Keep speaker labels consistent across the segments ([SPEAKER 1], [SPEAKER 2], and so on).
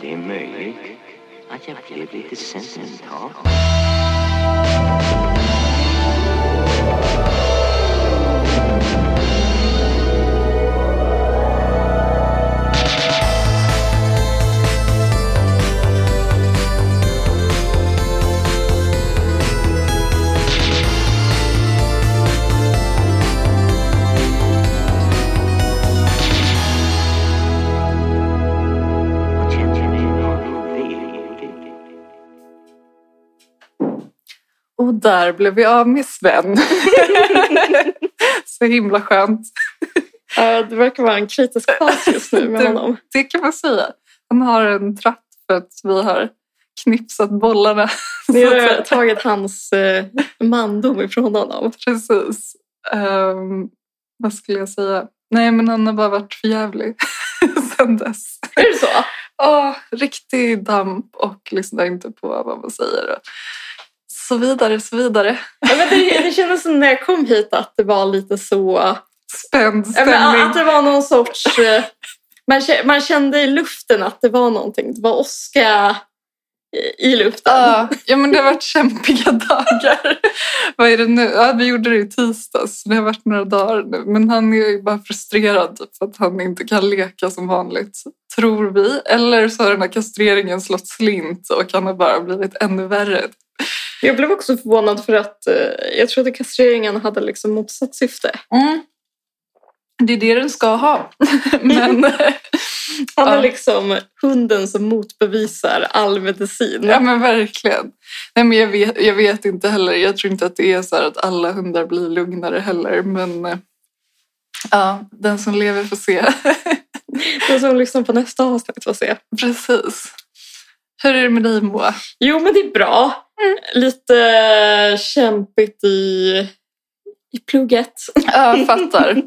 [SPEAKER 1] Det är möjligt att jag blev lite sentimental. Och känner mig någon velig.
[SPEAKER 2] Och där blev vi av med Sven. Så himla skönt.
[SPEAKER 3] Ja, det verkar vara en kritisk fas just nu med
[SPEAKER 2] Du-
[SPEAKER 3] honom.
[SPEAKER 2] Det kan man säga. Han har en tratt för att vi har knipsat bollarna.
[SPEAKER 3] Ni
[SPEAKER 2] Så att
[SPEAKER 3] har
[SPEAKER 2] säga.
[SPEAKER 3] tagit hans eh, mandom ifrån honom.
[SPEAKER 2] Precis. Ehm, vad skulle jag säga? Nej, men han har bara varit för jävlig sen dess.
[SPEAKER 3] Är det så?
[SPEAKER 2] Åh, riktig damp och lyssnar inte på vad man säger. Och så vidare, så vidare.
[SPEAKER 3] Ja, men det, det kändes som när jag kom hit att det var lite så...
[SPEAKER 2] Spänd
[SPEAKER 3] Ja,
[SPEAKER 2] stämning.
[SPEAKER 3] men, alltså- att det var någon sorts... eh, Man, kä- man kände i luften att det var någonting. Det var åska i- i luften.
[SPEAKER 2] Ja, ja, men det har varit kämpiga dagar. Vad är det nu? Ja, vi gjorde det i tisdags. så Det har varit några dagar nu. Men han är ju bara frustrerad typ, för att han inte kan leka som vanligt, tror vi. Eller så har den här kastreringen slått slint och han har bara blivit ännu värre.
[SPEAKER 3] Jag blev också förvånad för att eh, jag trodde kastreringen hade liksom motsatt syfte.
[SPEAKER 2] Mm. Det är det den ska ha. men,
[SPEAKER 3] Han är
[SPEAKER 2] Ja.
[SPEAKER 3] liksom hunden som motbevisar all medicin.
[SPEAKER 2] ja, men verkligen. Nej, men jag, vet, jag vet inte heller. Jag tror inte att det är så här att alla hundar blir lugnare heller. Men eh, ja, den som lever får se.
[SPEAKER 3] Den som lyssnar på nästa avsnitt får se.
[SPEAKER 2] Precis. Hur är det med dig Moa?
[SPEAKER 3] Jo, men det är bra.
[SPEAKER 2] Mm.
[SPEAKER 3] Lite kämpigt i, i plugget.
[SPEAKER 2] Ja, jag fattar.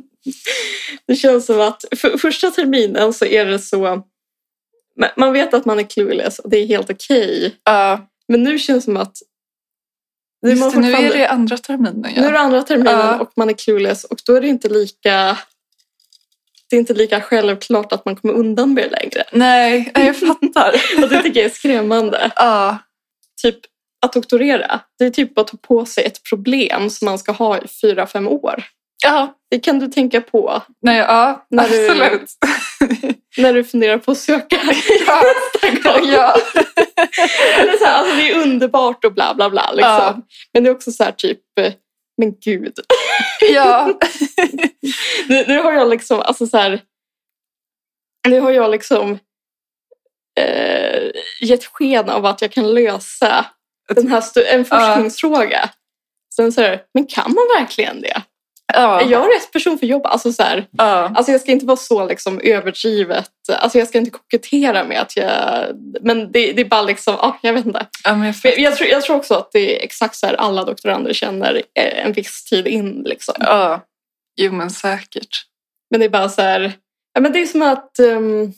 [SPEAKER 3] Det känns som att för första terminen så är det så... men Man vet att man är clueless och det är helt okej.
[SPEAKER 2] Ja,
[SPEAKER 3] Men nu känns det som att... Nu, är man
[SPEAKER 2] just det, nu är
[SPEAKER 3] fortfarande-
[SPEAKER 2] det andra terminen.
[SPEAKER 3] nu är
[SPEAKER 2] Ja.
[SPEAKER 3] det andra terminen
[SPEAKER 2] Ja.
[SPEAKER 3] och man är clueless och då är det inte lika... Det är inte lika självklart att man kommer undan med det längre.
[SPEAKER 2] Nej, ja, jag fattar.
[SPEAKER 3] Och det tycker jag är skrämmande.
[SPEAKER 2] Ja,
[SPEAKER 3] Typ att doktorera, det är typ att ta på sig ett problem som man ska ha i fyra, fem år.
[SPEAKER 2] ja.
[SPEAKER 3] Det kan du tänka på
[SPEAKER 2] Nej, ja
[SPEAKER 3] När du-
[SPEAKER 2] absolut.
[SPEAKER 3] när du funderar på att söka
[SPEAKER 2] Ja,
[SPEAKER 3] nästa gång.
[SPEAKER 2] ja.
[SPEAKER 3] Eller så här, alltså det är underbart och bla bla bla. Liksom.
[SPEAKER 2] Ja.
[SPEAKER 3] Men det är också så här typ, eh, men gud.
[SPEAKER 2] ja.
[SPEAKER 3] Nu, nu har jag liksom, alltså så här, nu har jag liksom eh, gett sken av att jag kan lösa den här stu- en forskningsfråga. Sen så här, men kan man verkligen det?
[SPEAKER 2] ja.
[SPEAKER 3] Är jag rätt person för jobb? Alltså så här,
[SPEAKER 2] ja.
[SPEAKER 3] Alltså jag ska inte vara så liksom överdrivet. Alltså jag ska inte kokettera med att jag... Men det, det är bara liksom, ja, jag vet inte.
[SPEAKER 2] ja men jag
[SPEAKER 3] Men
[SPEAKER 2] fattar.
[SPEAKER 3] Jag tror, jag tror också att det är exakt så här alla doktorander känner eh, en viss tid in. Liksom.
[SPEAKER 2] Ja. Jo, men säkert.
[SPEAKER 3] Men det är bara så här... Ja, men det är som att ehm,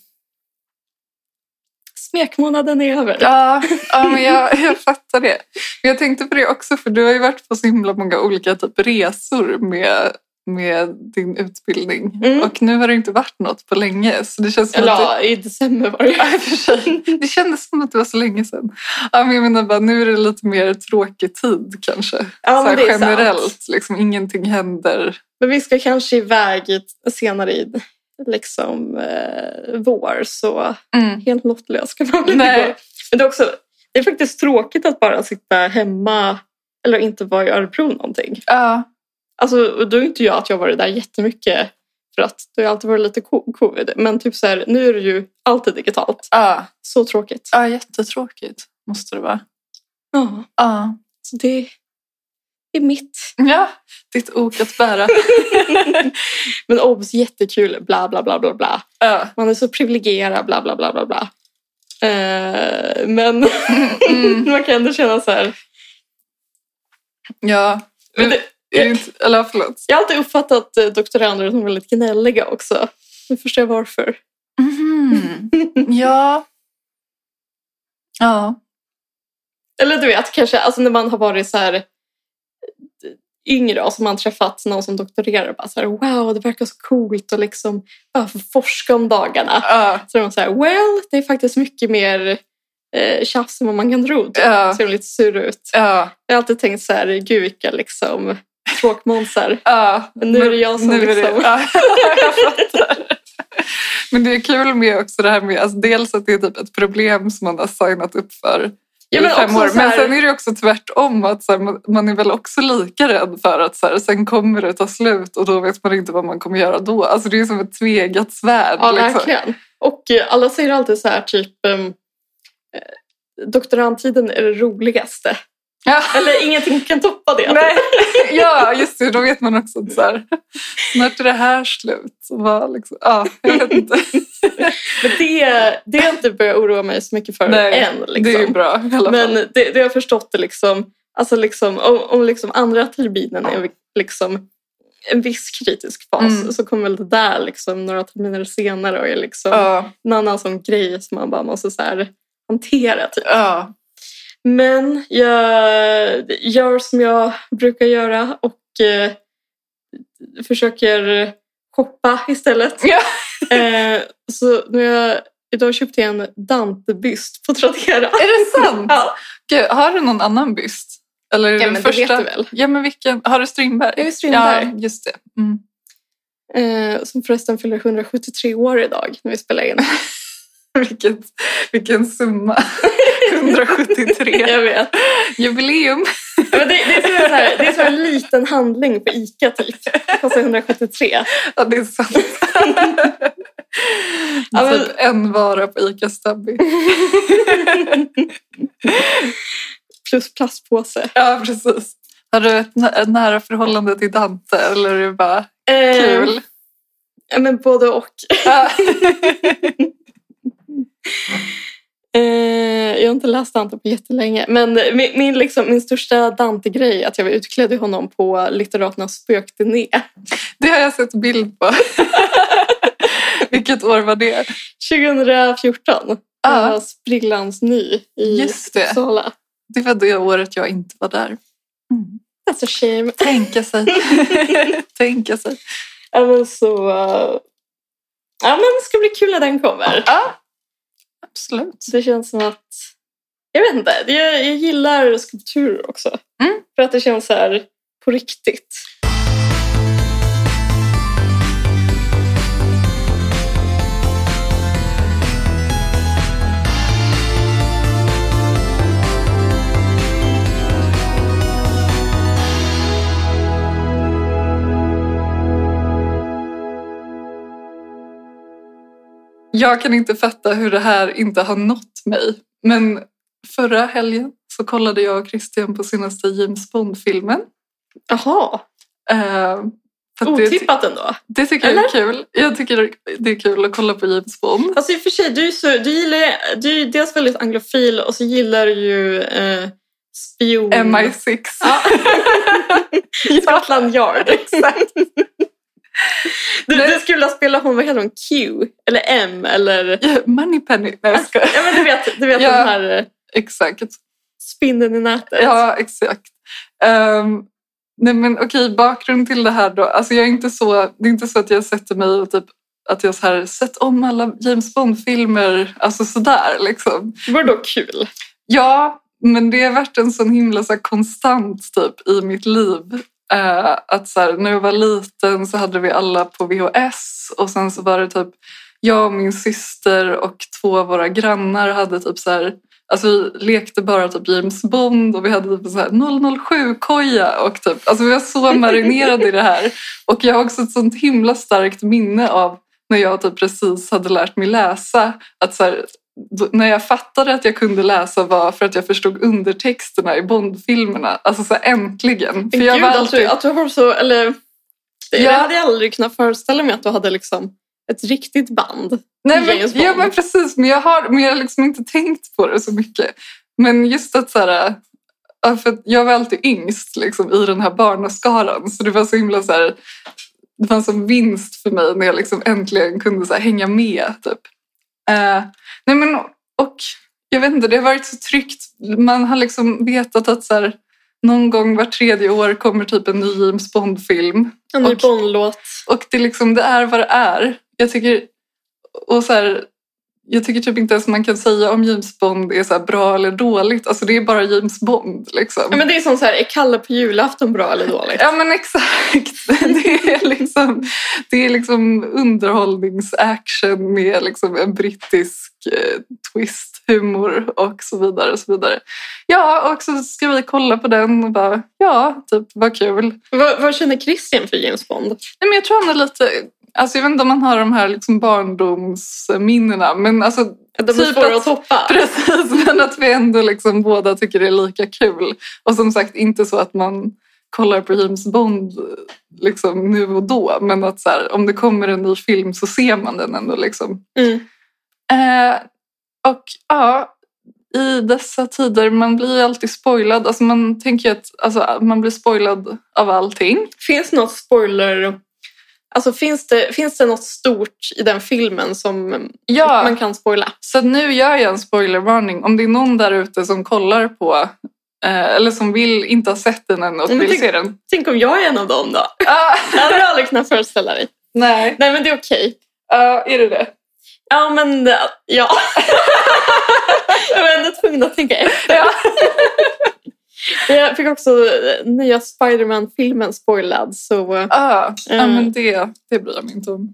[SPEAKER 3] smekmånaden är över.
[SPEAKER 2] Ja, ja men jag, jag fattar det. Men jag tänkte på det också, för du har ju varit på så himla många olika typ resor med, med din utbildning.
[SPEAKER 3] Mm.
[SPEAKER 2] Och nu har det inte varit något på länge, så det känns som
[SPEAKER 3] Eller
[SPEAKER 2] att du,
[SPEAKER 3] ja, i december var det
[SPEAKER 2] Ja, i och för sig. Det kändes som att det var så länge sedan. Ja, men jag menar bara, nu är det lite mer tråkig tid kanske.
[SPEAKER 3] Ja,
[SPEAKER 2] så här
[SPEAKER 3] men det är sant.
[SPEAKER 2] generellt, liksom, ingenting händer.
[SPEAKER 3] Men vi ska kanske iväg i- senare i liksom, eh, vår. Så
[SPEAKER 2] Mm.
[SPEAKER 3] helt lottlös kan man väl
[SPEAKER 2] Nej.
[SPEAKER 3] inte vara. Men det är också, det är faktiskt tråkigt att bara sitta hemma eller inte vara i Örebro någonting.
[SPEAKER 2] Ja,
[SPEAKER 3] Alltså, och då är inte jag att jag har varit där jättemycket för att det har ju alltid varit lite co- covid. Men typ så här, nu är det ju alltid digitalt.
[SPEAKER 2] ja,
[SPEAKER 3] Så tråkigt.
[SPEAKER 2] ja, jättetråkigt måste det vara.
[SPEAKER 3] Ja,
[SPEAKER 2] Ja,
[SPEAKER 3] så det, det är mitt.
[SPEAKER 2] ja ditt ok att bära.
[SPEAKER 3] Men obs, jättekul, bla bla bla bla bla.
[SPEAKER 2] Ja.
[SPEAKER 3] Man är så privilegierad, bla bla bla bla bla. Eh, men
[SPEAKER 2] Mm.
[SPEAKER 3] man kan ändå känna så här,
[SPEAKER 2] Ja.
[SPEAKER 3] Men det-
[SPEAKER 2] Är det inte, eller förlåt.
[SPEAKER 3] Jag har alltid uppfattat eh, doktorander som väldigt gnälliga också. Nu förstår jag varför. Mm.
[SPEAKER 2] Ja. Ja.
[SPEAKER 3] Eller du vet, kanske alltså när man har varit så här eh, yngre och som har träffat någon som doktorerar och bara så här, wow, det verkar så coolt och liksom bara få forska om dagarna.
[SPEAKER 2] Ja.
[SPEAKER 3] Så är de så här, well, det är faktiskt mycket mer eh, tjafs än vad man kan tro. typ.
[SPEAKER 2] Ja.
[SPEAKER 3] Ser de lite sura ut.
[SPEAKER 2] Ja.
[SPEAKER 3] Jag har alltid tänkt så här, gud vilka liksom tråkmånsar.
[SPEAKER 2] Ja.
[SPEAKER 3] Men nu är det jag som
[SPEAKER 2] Nu är det-
[SPEAKER 3] liksom-
[SPEAKER 2] ja, jag fattar. Men det är kul med också det här med, alltså dels att det är typ ett problem som man har signat upp för
[SPEAKER 3] Ja,
[SPEAKER 2] i fem
[SPEAKER 3] också
[SPEAKER 2] år.
[SPEAKER 3] så
[SPEAKER 2] Men
[SPEAKER 3] här-
[SPEAKER 2] sen är det också tvärtom, att så här, man- man är väl också lika rädd för att så här, sen kommer det ta slut och då vet man inte vad man kommer göra då. Alltså det är som ett tvegat svärd.
[SPEAKER 3] Ja,
[SPEAKER 2] liksom.
[SPEAKER 3] verkligen. Och eh, alla säger alltid så här typ ehm, eh, doktorandtiden är det roligaste.
[SPEAKER 2] Ja.
[SPEAKER 3] Eller ingenting kan toppa det.
[SPEAKER 2] Nej. ja, just det. Då vet man också att så här, snart är det här slut. Vad, liksom, ja, jag vet inte.
[SPEAKER 3] Men det, det har inte börjat oroa mig så mycket för
[SPEAKER 2] Nej,
[SPEAKER 3] än. Liksom.
[SPEAKER 2] Det är ju bra i alla
[SPEAKER 3] Men
[SPEAKER 2] fall.
[SPEAKER 3] det, det har jag förstått det liksom, alltså liksom om, om liksom andra terminen är liksom en viss kritisk fas
[SPEAKER 2] Mm.
[SPEAKER 3] så kommer väl det där liksom några terminer senare och är liksom
[SPEAKER 2] Ja,
[SPEAKER 3] en annan sån grej som man bara måste så här hantera. Typ.
[SPEAKER 2] ja.
[SPEAKER 3] Men jag gör som jag brukar göra och eh, försöker shoppa istället.
[SPEAKER 2] Ja.
[SPEAKER 3] Eh, så nu har jag, idag köpte jag en Dante-byst på Tradera.
[SPEAKER 2] Är det sant?
[SPEAKER 3] Ja.
[SPEAKER 2] Gud, har du någon annan byst? Eller är det
[SPEAKER 3] Ja,
[SPEAKER 2] den
[SPEAKER 3] men det
[SPEAKER 2] första?
[SPEAKER 3] vet du väl?
[SPEAKER 2] Ja, men vilken? Har du Strindberg?
[SPEAKER 3] Jag är Strindberg.
[SPEAKER 2] Ja, just det. Mm.
[SPEAKER 3] Eh, som förresten fyller 173 år idag när vi spelar in.
[SPEAKER 2] Vilket, vilken summa. 173.
[SPEAKER 3] jag vet.
[SPEAKER 2] Jubileum.
[SPEAKER 3] Men det, det, är som en så här, det är som en liten handling på ICA typ. Det kostar 173.
[SPEAKER 2] Ja, det är sant.
[SPEAKER 3] Ja, men-
[SPEAKER 2] Typ en vara på Ica Stubby.
[SPEAKER 3] Plus plastpåse.
[SPEAKER 2] Ja, precis. Har du ett, nä- ett nära förhållande till Dante eller är det bara
[SPEAKER 3] Eh,
[SPEAKER 2] kul?
[SPEAKER 3] ja, Men både och.
[SPEAKER 2] Ja.
[SPEAKER 3] Eh, jag har inte läst Dante på jättelänge. Men min, min, liksom, min största Dante-grej är att jag var utklädd i honom på Litteraternas spökturné.
[SPEAKER 2] Det har jag sett bild på. Vilket år var det?
[SPEAKER 3] 2014. Jag var sprillans ny i
[SPEAKER 2] Just det.
[SPEAKER 3] Uppsala.
[SPEAKER 2] Det var det året jag inte var där.
[SPEAKER 3] That's a shame.
[SPEAKER 2] Tänka sig. Tänka sig.
[SPEAKER 3] Ja, men så... eh, ja, men det ska bli kul när den kommer.
[SPEAKER 2] Ja, absolut.
[SPEAKER 3] Så det känns som att... Jag vet inte. Jag, jag gillar skulpturer också.
[SPEAKER 2] Mm.
[SPEAKER 3] För att det känns så här på riktigt.
[SPEAKER 2] Jag kan inte fatta hur det här inte har nått mig. Men förra helgen så kollade jag och Christian på senaste James Bond-filmen.
[SPEAKER 3] Jaha,
[SPEAKER 2] Eh, för att det,
[SPEAKER 3] otippat ändå.
[SPEAKER 2] det tycker jag
[SPEAKER 3] Eller?
[SPEAKER 2] är kul. Jag tycker det är kul att kolla på James Bond.
[SPEAKER 3] Alltså i och för sig, du, är så, du, gillar, du är ju dels väldigt anglofil och så gillar du ju eh, spion...
[SPEAKER 2] MI6.
[SPEAKER 3] Mm. Ja. Scotland Yard.
[SPEAKER 2] Exakt.
[SPEAKER 3] Du,
[SPEAKER 2] Nej.
[SPEAKER 3] du skulle vilja spela hon, vad heter hon, Q? Eller M? Eller...
[SPEAKER 2] Moneypenny. Nej, jag skojar.
[SPEAKER 3] Ja men du vet, du vet
[SPEAKER 2] Ja.
[SPEAKER 3] den här eh,
[SPEAKER 2] Exakt.
[SPEAKER 3] spindeln i nätet.
[SPEAKER 2] Ja, exakt. Ehm, nej men okej, bakgrund till det här då. Alltså jag är inte så, det är inte så att jag sätter mig och typ att jag så här sett om alla James Bond-filmer, alltså sådär liksom.
[SPEAKER 3] Det vore då kul.
[SPEAKER 2] Ja, men det har varit en sån himla så här, konstant typ i mitt liv. Eh, att så här, när jag var liten så hade vi alla på VHS och sen så var det typ jag och min syster och två av våra grannar hade typ så här Alltså vi lekte bara typ James Bond och vi hade typ en så här 007-koja och typ, alltså vi var så marinerade i det här. Och jag har också ett sånt himla starkt minne av när jag typ precis hade lärt mig läsa. Att så här, då- när jag fattade att jag kunde läsa var för att jag förstod undertexterna i Bondfilmerna. Alltså så här, äntligen. För
[SPEAKER 3] Men
[SPEAKER 2] jag
[SPEAKER 3] gud, alltså,
[SPEAKER 2] var
[SPEAKER 3] att, du,
[SPEAKER 2] alltid...
[SPEAKER 3] att du har så... Eller, det,
[SPEAKER 2] Ja.
[SPEAKER 3] det hade jag aldrig kunnat föreställa mig att du hade liksom ett riktigt band.
[SPEAKER 2] Nej,
[SPEAKER 3] James
[SPEAKER 2] men,
[SPEAKER 3] Bond.
[SPEAKER 2] ja, men precis. Men jag har, men jag har liksom inte tänkt på det så mycket. Men just att så här, ja, för att jag var alltid yngst liksom, i den här barnaskaran. Så det var så himla så här, det fanns en vinst för mig när jag liksom äntligen kunde så här, hänga med. Typ. Eh, nej, men, och jag vet inte, det har varit så tryggt. Man har liksom vetat att så här, någon gång var tredje år kommer typ en ny James Bond-film.
[SPEAKER 3] En ny
[SPEAKER 2] Och-
[SPEAKER 3] Bond-låt.
[SPEAKER 2] Och det, är liksom, det är vad det är. Jag tycker, och så här, jag tycker typ inte ens man kan säga om James Bond är så här bra eller dåligt. Alltså det är bara James Bond. Liksom.
[SPEAKER 3] Ja, men det är som så här, är Kalle på julafton bra eller dåligt?
[SPEAKER 2] Ja men exakt. Det är liksom, det är liksom underhållningsaction med liksom en brittisk eh, twist, humor och så vidare. Och så vidare. Ja, och så ska vi kolla på den och bara, ja, typ vad kul.
[SPEAKER 3] Vad, vad känner Christian för James Bond?
[SPEAKER 2] Nej, men jag tror han är lite, alltså jag vet inte om han har de här liksom barndomsminnena, men alltså
[SPEAKER 3] De är
[SPEAKER 2] Typ
[SPEAKER 3] svåra
[SPEAKER 2] att-
[SPEAKER 3] att toppa.
[SPEAKER 2] Precis, men att vi ändå liksom båda tycker det är lika kul. Och som sagt, inte så att man kollar på James Bond liksom nu och då, men att så här, om det kommer en ny film så ser man den ändå. Liksom.
[SPEAKER 3] Mm.
[SPEAKER 2] Eh, och ja, i dessa tider, man blir ju alltid spoilad. Alltså man tänker ju att alltså, man blir spoilad av allting.
[SPEAKER 3] Finns något spoiler... Alltså finns det, finns det något stort i den filmen som
[SPEAKER 2] Ja,
[SPEAKER 3] man kan spoila?
[SPEAKER 2] Så nu gör jag en spoilervarning. Om det är någon där ute som kollar på eh, eller som vill inte ha sett den än och
[SPEAKER 3] Men
[SPEAKER 2] vill
[SPEAKER 3] tänk-
[SPEAKER 2] se den.
[SPEAKER 3] Tänk om jag är en av dem då?
[SPEAKER 2] Ah,
[SPEAKER 3] Det hade du aldrig kunnat föreställa dig.
[SPEAKER 2] nej,
[SPEAKER 3] Nej men det är okej.
[SPEAKER 2] Ja, är det det?
[SPEAKER 3] Ja men det- ja. jag var ändå tvungen att tänka efter.
[SPEAKER 2] Ja.
[SPEAKER 3] Jag fick också eh, nya Spiderman-filmen spoilad så eh,
[SPEAKER 2] Ja, Ah, ja,
[SPEAKER 3] Mm.
[SPEAKER 2] men det, det bryr jag mig inte om.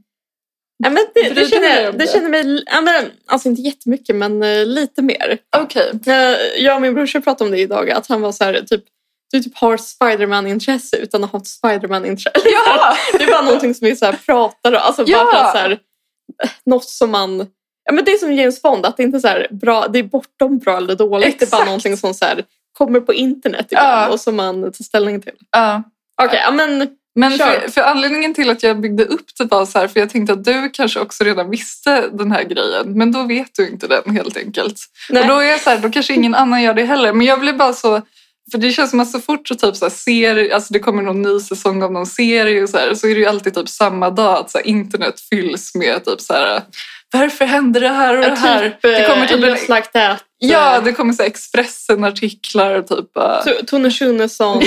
[SPEAKER 3] ja, men det,
[SPEAKER 2] Bryr du
[SPEAKER 3] det, känner,
[SPEAKER 2] dig om
[SPEAKER 3] jag- det
[SPEAKER 2] det?
[SPEAKER 3] känner mig, ja, men, alltså inte jättemycket men eh, lite mer.
[SPEAKER 2] Okej.
[SPEAKER 3] Eh, Jag och min brorsa pratade om det idag, att han var så här, typ, du typ har Spiderman-intresse utan att ha ett Spiderman-intresse.
[SPEAKER 2] Ja!
[SPEAKER 3] Det är bara någonting som vi så här pratar om. Alltså
[SPEAKER 2] Ja.
[SPEAKER 3] bara för att så här, eh, något som man... Ja, men det är som James Bond, att det inte är, så här bra, det är bortom bra eller dåligt. Det är
[SPEAKER 2] Exakt.
[SPEAKER 3] bara någonting som så här, kommer på internet ibland
[SPEAKER 2] Ja.
[SPEAKER 3] och som man tar ställning till.
[SPEAKER 2] Ja.
[SPEAKER 3] Okej, ja, men
[SPEAKER 2] Men
[SPEAKER 3] Kör.
[SPEAKER 2] för, för anledningen till att jag byggde upp det var så här, för jag tänkte att du kanske också redan visste den här grejen, men då vet du inte den helt enkelt.
[SPEAKER 3] Nej.
[SPEAKER 2] Och då är jag så här, då kanske ingen annan gör det heller, men jag blir bara så, för det känns som att så fort så typ så här ser, alltså det kommer någon ny säsong av någon serie och så, här, så är det ju alltid typ samma dag att så här, internet fylls med typ så här, varför händer det här och det här?
[SPEAKER 3] typ,
[SPEAKER 2] det kommer
[SPEAKER 3] typ
[SPEAKER 2] typ
[SPEAKER 3] just
[SPEAKER 2] en,
[SPEAKER 3] like that.
[SPEAKER 2] ja, det kommer så här Expressen-artiklar typ. eh,
[SPEAKER 3] T- Tone Schunnesson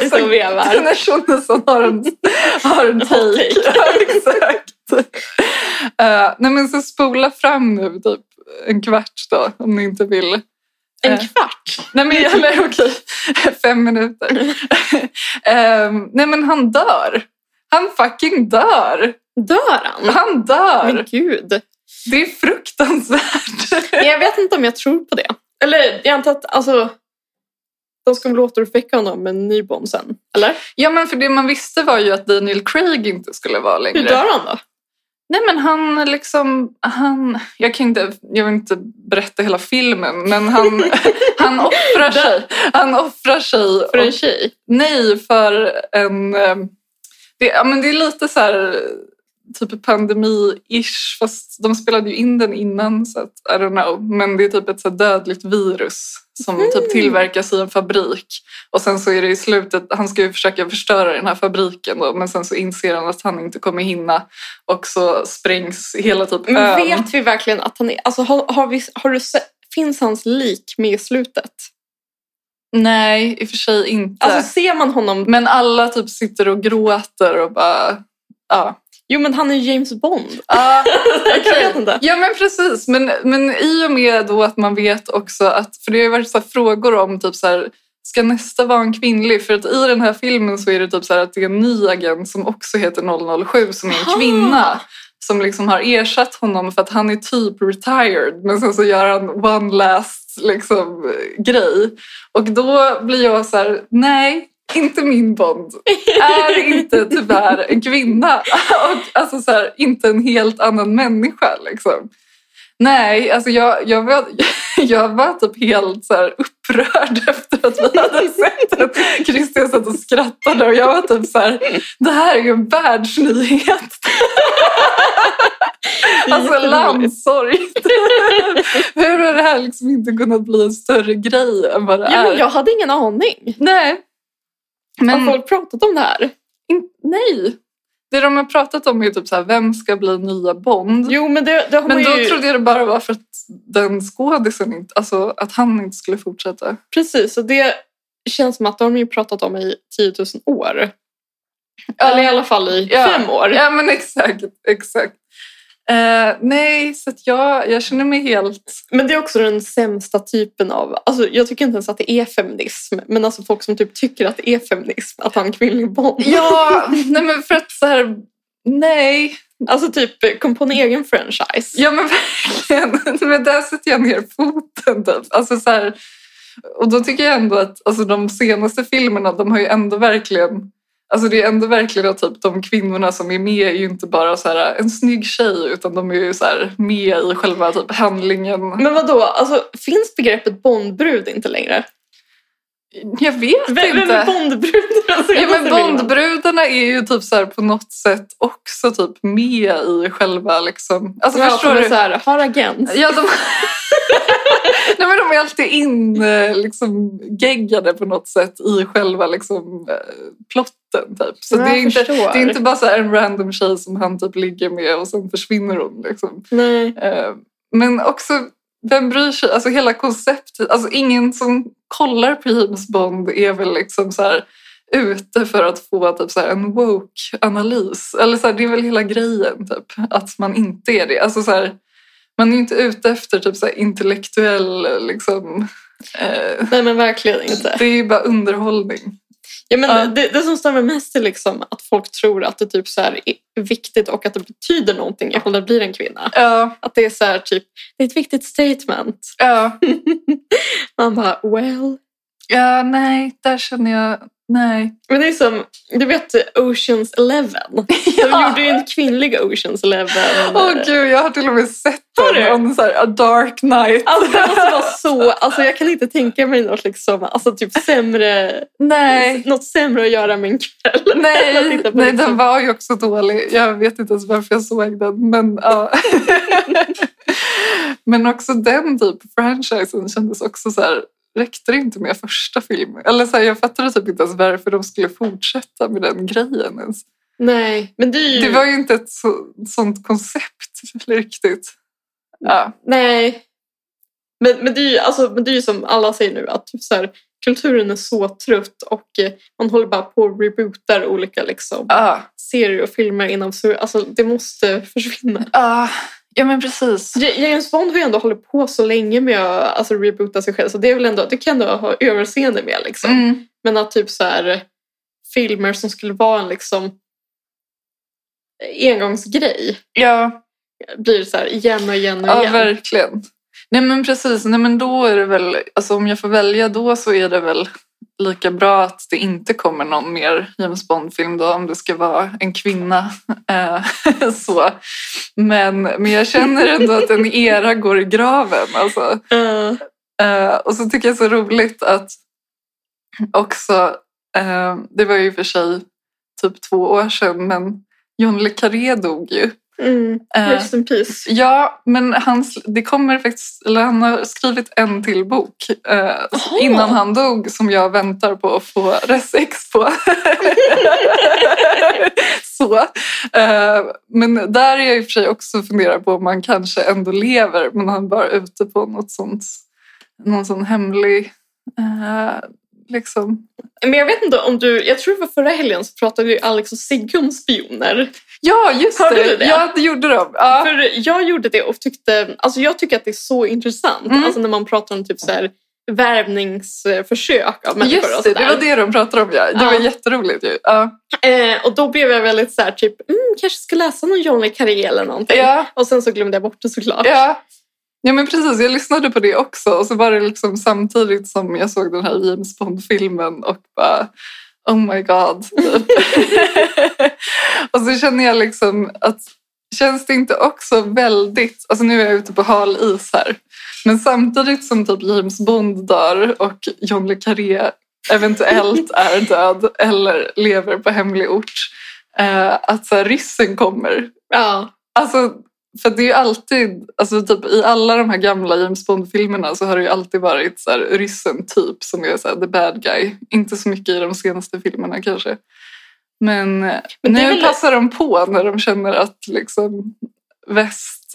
[SPEAKER 3] liksom vevar.
[SPEAKER 2] Tina Schunnesson har en, har en take.
[SPEAKER 3] take.
[SPEAKER 2] ja, exakt. Eh, nej men så spola fram nu typ en kvart då om ni inte vill.
[SPEAKER 3] En
[SPEAKER 2] Eh,
[SPEAKER 3] kvart.
[SPEAKER 2] nej men eller okej, fem minuter. Ehm, nej men han dör. Han fucking dör.
[SPEAKER 3] Dör han?
[SPEAKER 2] Han dör.
[SPEAKER 3] Mm. Men gud.
[SPEAKER 2] Det är fruktansvärt.
[SPEAKER 3] Men Jag vet inte om jag tror på det. Eller jag antar att alltså, de ska väl återuppväcka honom med en ny Bond sen. Eller?
[SPEAKER 2] ja men för det man visste var ju att Daniel Craig inte skulle vara längre.
[SPEAKER 3] Hur dör han då?
[SPEAKER 2] Nej men han liksom, han, jag kan inte, jag vill inte berätta hela filmen men han, han offrar sig. Han offrar sig.
[SPEAKER 3] För en
[SPEAKER 2] och-
[SPEAKER 3] tjej?
[SPEAKER 2] nej, för en, eh, det, ja, men det är lite så här eh, typ pandemi-ish fast de spelade ju in den innan så att, I don't know. Men det är typ ett så här dödligt virus som
[SPEAKER 3] Mm.
[SPEAKER 2] typ tillverkas i en fabrik och sen så är det i slutet, han ska ju försöka förstöra den här fabriken då, men sen så inser han att han inte kommer hinna och så sprängs hela typ
[SPEAKER 3] Men
[SPEAKER 2] ön.
[SPEAKER 3] vet vi verkligen att han är... Alltså, har, har vi, har du se, finns hans lik med i slutet?
[SPEAKER 2] Nej, i och för sig inte.
[SPEAKER 3] Alltså ser man honom...
[SPEAKER 2] men alla typ sitter och gråter och bara, ja.
[SPEAKER 3] Jo men han är James Bond.
[SPEAKER 2] Ja,
[SPEAKER 3] Jag
[SPEAKER 2] okej.
[SPEAKER 3] vet inte.
[SPEAKER 2] Ja men precis, men, men i och med då att man vet också att, för det har ju varit så här frågor om typ så här, ska nästa vara en kvinnlig? För att i den här filmen så är det typ så här att det är en ny agent som också heter 007 som är en
[SPEAKER 3] Aha.
[SPEAKER 2] kvinna som liksom har ersatt honom för att han är typ retired men sen så gör han one last liksom, eh, grej. Och då blir jag så här, nej, inte min Bond är inte tyvärr en kvinna och alltså så här, inte en helt annan människa. Liksom. Nej, alltså jag, jag, var, jag var typ helt så här upprörd efter att vi hade sett den. Christian satt och skrattade och jag var typ så här, det här är ju en världsnyhet. Alltså
[SPEAKER 3] Jätteroligt.
[SPEAKER 2] landssorg. Hur har det här liksom inte kunnat bli en större grej än vad det
[SPEAKER 3] Ja,
[SPEAKER 2] är?
[SPEAKER 3] men jag hade ingen aning.
[SPEAKER 2] Nej. Men...
[SPEAKER 3] Har folk pratat om det här?
[SPEAKER 2] In, nej! Det de har pratat om är typ så här, vem ska bli nya Bond?
[SPEAKER 3] Jo men det, det har
[SPEAKER 2] men
[SPEAKER 3] man
[SPEAKER 2] då
[SPEAKER 3] ju...
[SPEAKER 2] trodde jag det bara var för att den skådisen inte, alltså att han inte skulle fortsätta.
[SPEAKER 3] Precis, och det det känns som att de har ju pratat om i 10 000 år. Eller i alla fall i
[SPEAKER 2] Ja.
[SPEAKER 3] fem år.
[SPEAKER 2] Ja, men exakt. exakt. Eh, nej, så att jag, jag känner mig helt...
[SPEAKER 3] Men det är också den sämsta typen av... Alltså, jag tycker inte ens att det är feminism. Men alltså folk som typ tycker att det är feminism att ha en kvinnlig Bond.
[SPEAKER 2] Ja, nej men för att så här... Nej.
[SPEAKER 3] Alltså typ kom på en egen franchise.
[SPEAKER 2] Ja, men verkligen. Men där sätter jag ner foten. Typ. Alltså, så här, och då tycker jag ändå att alltså, de senaste filmerna, de har ju ändå verkligen... Alltså det är ändå verkligen att typ, de kvinnorna som är med är ju inte bara så här, en snygg tjej utan de är ju så här, med i själva typ, handlingen.
[SPEAKER 3] Men vad då? Alltså, finns begreppet Bondbrud inte längre?
[SPEAKER 2] Jag vet
[SPEAKER 3] Vem,
[SPEAKER 2] inte.
[SPEAKER 3] vem är Bondbrud? Alltså,
[SPEAKER 2] Ja,
[SPEAKER 3] jag
[SPEAKER 2] men
[SPEAKER 3] måste vilja.
[SPEAKER 2] Bondbrudarna är ju typ så här på något sätt också typ med i själva... Liksom. Alltså,
[SPEAKER 3] Ja,
[SPEAKER 2] förstår
[SPEAKER 3] som är
[SPEAKER 2] du?
[SPEAKER 3] Så här, har agent.
[SPEAKER 2] Ja, de... Nej, men de är alltid in, eh, liksom, geggade på något sätt i själva liksom, eh, plotten. Typ. Så
[SPEAKER 3] Ja,
[SPEAKER 2] det, är
[SPEAKER 3] jag
[SPEAKER 2] inte,
[SPEAKER 3] förstår.
[SPEAKER 2] det är inte bara så här en random tjej som han typ ligger med och sen försvinner hon. Liksom.
[SPEAKER 3] Nej.
[SPEAKER 2] Eh, Men också, vem bryr sig? Alltså hela konceptet. Alltså ingen som kollar på James Bond är väl liksom så här ute för att få typ så här en woke-analys. Eller så här, det är väl hela grejen, typ, att man inte är det. Alltså så här, man är ju inte ute efter typ så här intellektuell... Liksom, eh,
[SPEAKER 3] Nej, men verkligen inte.
[SPEAKER 2] det är ju bara underhållning.
[SPEAKER 3] Ja, men
[SPEAKER 2] Ja.
[SPEAKER 3] Det, det som stämmer mest är liksom att folk tror att det typ så här är viktigt och att det betyder någonting ifall det blir en kvinna.
[SPEAKER 2] Ja,
[SPEAKER 3] Att det är så här, typ, det är ett viktigt statement.
[SPEAKER 2] ja.
[SPEAKER 3] Man bara, well.
[SPEAKER 2] ja, nej, där känner jag... Nej.
[SPEAKER 3] Men det är som, du vet Oceans Eleven? De gjorde ju en kvinnlig Oceans Eleven.
[SPEAKER 2] Åh gud, jag har till och med sett
[SPEAKER 3] Har
[SPEAKER 2] den
[SPEAKER 3] du?
[SPEAKER 2] om så här, A Dark Knight.
[SPEAKER 3] Alltså det måste vara så, alltså jag kan inte tänka mig något liksom, alltså typ sämre,
[SPEAKER 2] Nej.
[SPEAKER 3] något sämre att göra med en kväll. än att
[SPEAKER 2] Nej,
[SPEAKER 3] titta på
[SPEAKER 2] nej,
[SPEAKER 3] liksom-
[SPEAKER 2] den var ju också dålig. Jag vet inte ens varför jag såg den. Men, ja. men också den typ av franchisen kändes också så här, räckte det inte med första filmen? Eller så här, jag fattade typ inte ens varför de skulle fortsätta med den grejen ens.
[SPEAKER 3] Nej, men det är ju...
[SPEAKER 2] Det var ju inte ett så, sånt koncept riktigt. Ja.
[SPEAKER 3] Nej. Men, men, det är ju, alltså, men det är ju som alla säger nu, att typ så här, kulturen är så trött och eh, man håller bara på och rebootar olika liksom,
[SPEAKER 2] Ja.
[SPEAKER 3] serier och filmer inom så Alltså det måste försvinna.
[SPEAKER 2] Ja. ja, men precis.
[SPEAKER 3] J- James Bond har ju ändå hållit på så länge med att alltså, reboota sig själv så det är väl ändå, det kan du ha överseende med. Liksom.
[SPEAKER 2] Mm.
[SPEAKER 3] Men att typ så här, filmer som skulle vara en liksom engångsgrej
[SPEAKER 2] Ja.
[SPEAKER 3] blir så här igen och igen och
[SPEAKER 2] Ja,
[SPEAKER 3] igen.
[SPEAKER 2] verkligen. Nej, men precis. Nej, men då är det väl, alltså, om jag får välja då så är det väl lika bra att det inte kommer någon mer James Bond-film då, om det ska vara en kvinna. Eh, så. Men, men jag känner ändå att en era går i graven. Alltså.
[SPEAKER 3] Eh,
[SPEAKER 2] Eh, och så tycker jag det är så roligt att också, eh, det var ju i och för sig typ två år sedan, men John le Carré dog ju.
[SPEAKER 3] mm.
[SPEAKER 2] Eh,
[SPEAKER 3] Rest in peace.
[SPEAKER 2] Ja, men han, det kommer faktiskt, eller han har skrivit en till bok eh,
[SPEAKER 3] Jaha.
[SPEAKER 2] innan han dog som jag väntar på att få resex på. Så. Eh, men där är jag i och för sig också funderar på om han kanske ändå lever men han bara är ute på något sånt, någon sån hemlig... Eh, liksom.
[SPEAKER 3] Men jag vet inte om du, jag tror det var förra helgen så pratade ju Alex och Sigge om spioner.
[SPEAKER 2] Ja, just
[SPEAKER 3] Hörde
[SPEAKER 2] det!
[SPEAKER 3] du det?
[SPEAKER 2] Ja, det gjorde de. Ja.
[SPEAKER 3] För jag gjorde det och tyckte, alltså jag tycker att det är så intressant.
[SPEAKER 2] Mm.
[SPEAKER 3] Alltså när man pratar om typ så här värvningsförsök av människor
[SPEAKER 2] Just det,
[SPEAKER 3] och så
[SPEAKER 2] det
[SPEAKER 3] där.
[SPEAKER 2] var det de pratade om. Ja. Det
[SPEAKER 3] Ja.
[SPEAKER 2] var jätteroligt ju. Ja.
[SPEAKER 3] Eh, och då blev jag väldigt så här typ, mm, kanske ska läsa någon John le Carré eller någonting.
[SPEAKER 2] Ja.
[SPEAKER 3] Och sen så glömde jag bort det såklart.
[SPEAKER 2] Ja. ja, men precis. Jag lyssnade på det också. Och så var det liksom samtidigt som jag såg den här James Bond-filmen och bara Oh my god. typ. och så känner jag liksom att känns det inte också väldigt... Alltså nu är jag ute på hal is här. Men samtidigt som typ James Bond dör och John le Carré eventuellt är död eller lever på hemlig ort. Eh, att så här, ryssen kommer
[SPEAKER 3] Ja.
[SPEAKER 2] Alltså, för det är ju alltid, alltså typ i alla de här gamla James Bond-filmerna så har det ju alltid varit så här, ryssen typ som är så här, the bad guy. Inte så mycket i de senaste filmerna kanske. Men,
[SPEAKER 3] Men det
[SPEAKER 2] nu
[SPEAKER 3] är väl-
[SPEAKER 2] passar de på när de känner att liksom väst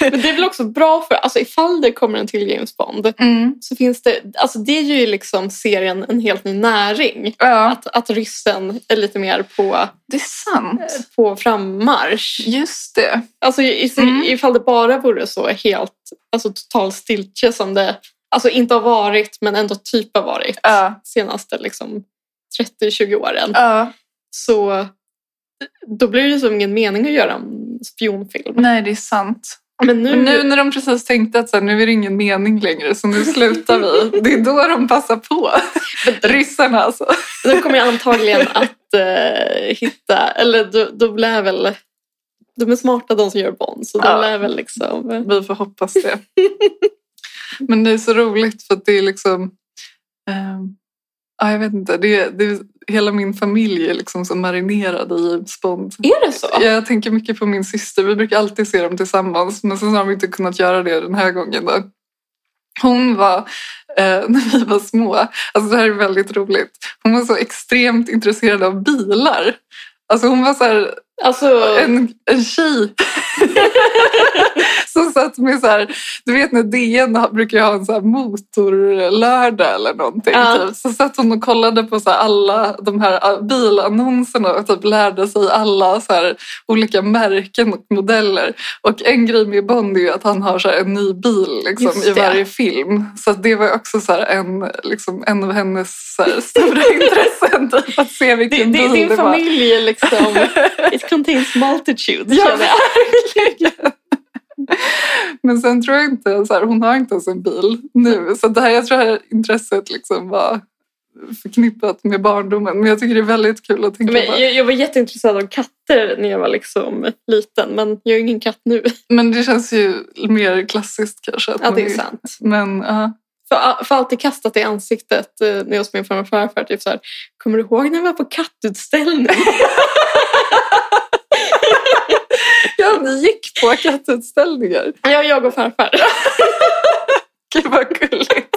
[SPEAKER 3] Men det är väl också bra för, alltså ifall det kommer en till James Bond
[SPEAKER 2] Mm.
[SPEAKER 3] så finns det, alltså det ger ju liksom serien en helt ny näring.
[SPEAKER 2] Ja,
[SPEAKER 3] Att, att ryssen är lite mer på,
[SPEAKER 2] det är sant.
[SPEAKER 3] på frammarsch.
[SPEAKER 2] Just det.
[SPEAKER 3] Alltså i,
[SPEAKER 2] Mm.
[SPEAKER 3] ifall det bara vore så helt, alltså total stiltje som det alltså inte har varit men ändå typ har varit
[SPEAKER 2] Ja.
[SPEAKER 3] senaste liksom 30-20 åren.
[SPEAKER 2] Ja.
[SPEAKER 3] Så då blir det ju som ingen mening att göra en spionfilm.
[SPEAKER 2] Nej, det är sant.
[SPEAKER 3] Men nu,
[SPEAKER 2] Men nu när de precis tänkte att så här, nu är det ingen mening längre så nu slutar vi. Det är då de passar på. Ryssarna alltså.
[SPEAKER 3] nu kommer jag antagligen att eh, hitta, eller då, då lär väl, de är smarta de som gör Bond så de
[SPEAKER 2] Ja.
[SPEAKER 3] lär väl liksom.
[SPEAKER 2] Vi får hoppas det. Men det är så roligt för att det är liksom... ehm, ja, jag vet inte. Det, det, hela min familj är liksom så marinerad i James Bond.
[SPEAKER 3] Är det så?
[SPEAKER 2] Jag tänker mycket på min syster. Vi brukar alltid se dem tillsammans men sen har vi inte kunnat göra det den här gången. Då. Hon var, eh, när vi var små, alltså det här är väldigt roligt, hon var så extremt intresserad av bilar. Alltså hon var så här,
[SPEAKER 3] Alltså,
[SPEAKER 2] en, en tjej som satt med så här, du vet när DN har- brukar ju ha en så här motorlördag eller någonting.
[SPEAKER 3] Ja.
[SPEAKER 2] Typ. Så satt hon och kollade på så här alla de här ah, bilannonserna och typ lärde sig alla så här olika märken och modeller. Och en grej med Bond är ju att han har så här en ny bil liksom,
[SPEAKER 3] Just
[SPEAKER 2] i
[SPEAKER 3] det.
[SPEAKER 2] varje film. Så att det var ju också så här en, liksom, en av hennes så här, stora intressen, typ, att se
[SPEAKER 3] di-
[SPEAKER 2] vilken
[SPEAKER 3] di-
[SPEAKER 2] bil
[SPEAKER 3] din
[SPEAKER 2] det var.
[SPEAKER 3] familj är liksom, it contains multitudes
[SPEAKER 2] Ja,
[SPEAKER 3] känner jag.
[SPEAKER 2] verkligen. Men sen tror jag inte, så här, hon har inte ens en bil nu. Så det här, jag tror det här intresset liksom var förknippat med barndomen. Men jag tycker det är väldigt kul att tänka
[SPEAKER 3] Men
[SPEAKER 2] på.
[SPEAKER 3] jag, jag var jätteintresserad av katter när jag var liksom liten men jag är ingen katt nu.
[SPEAKER 2] Men det känns ju mer klassiskt kanske. Att
[SPEAKER 3] Ja,
[SPEAKER 2] man
[SPEAKER 3] det är sant.
[SPEAKER 2] Men ja.
[SPEAKER 3] Mm. För, för alltid kastat i ansiktet eh, när jag hos min farmor och farfar. Typ så här, kommer du ihåg när vi var på kattutställning?
[SPEAKER 2] ja, ni gick på kattutställningar.
[SPEAKER 3] ja, jag och farfar.
[SPEAKER 2] Gud vad gulligt.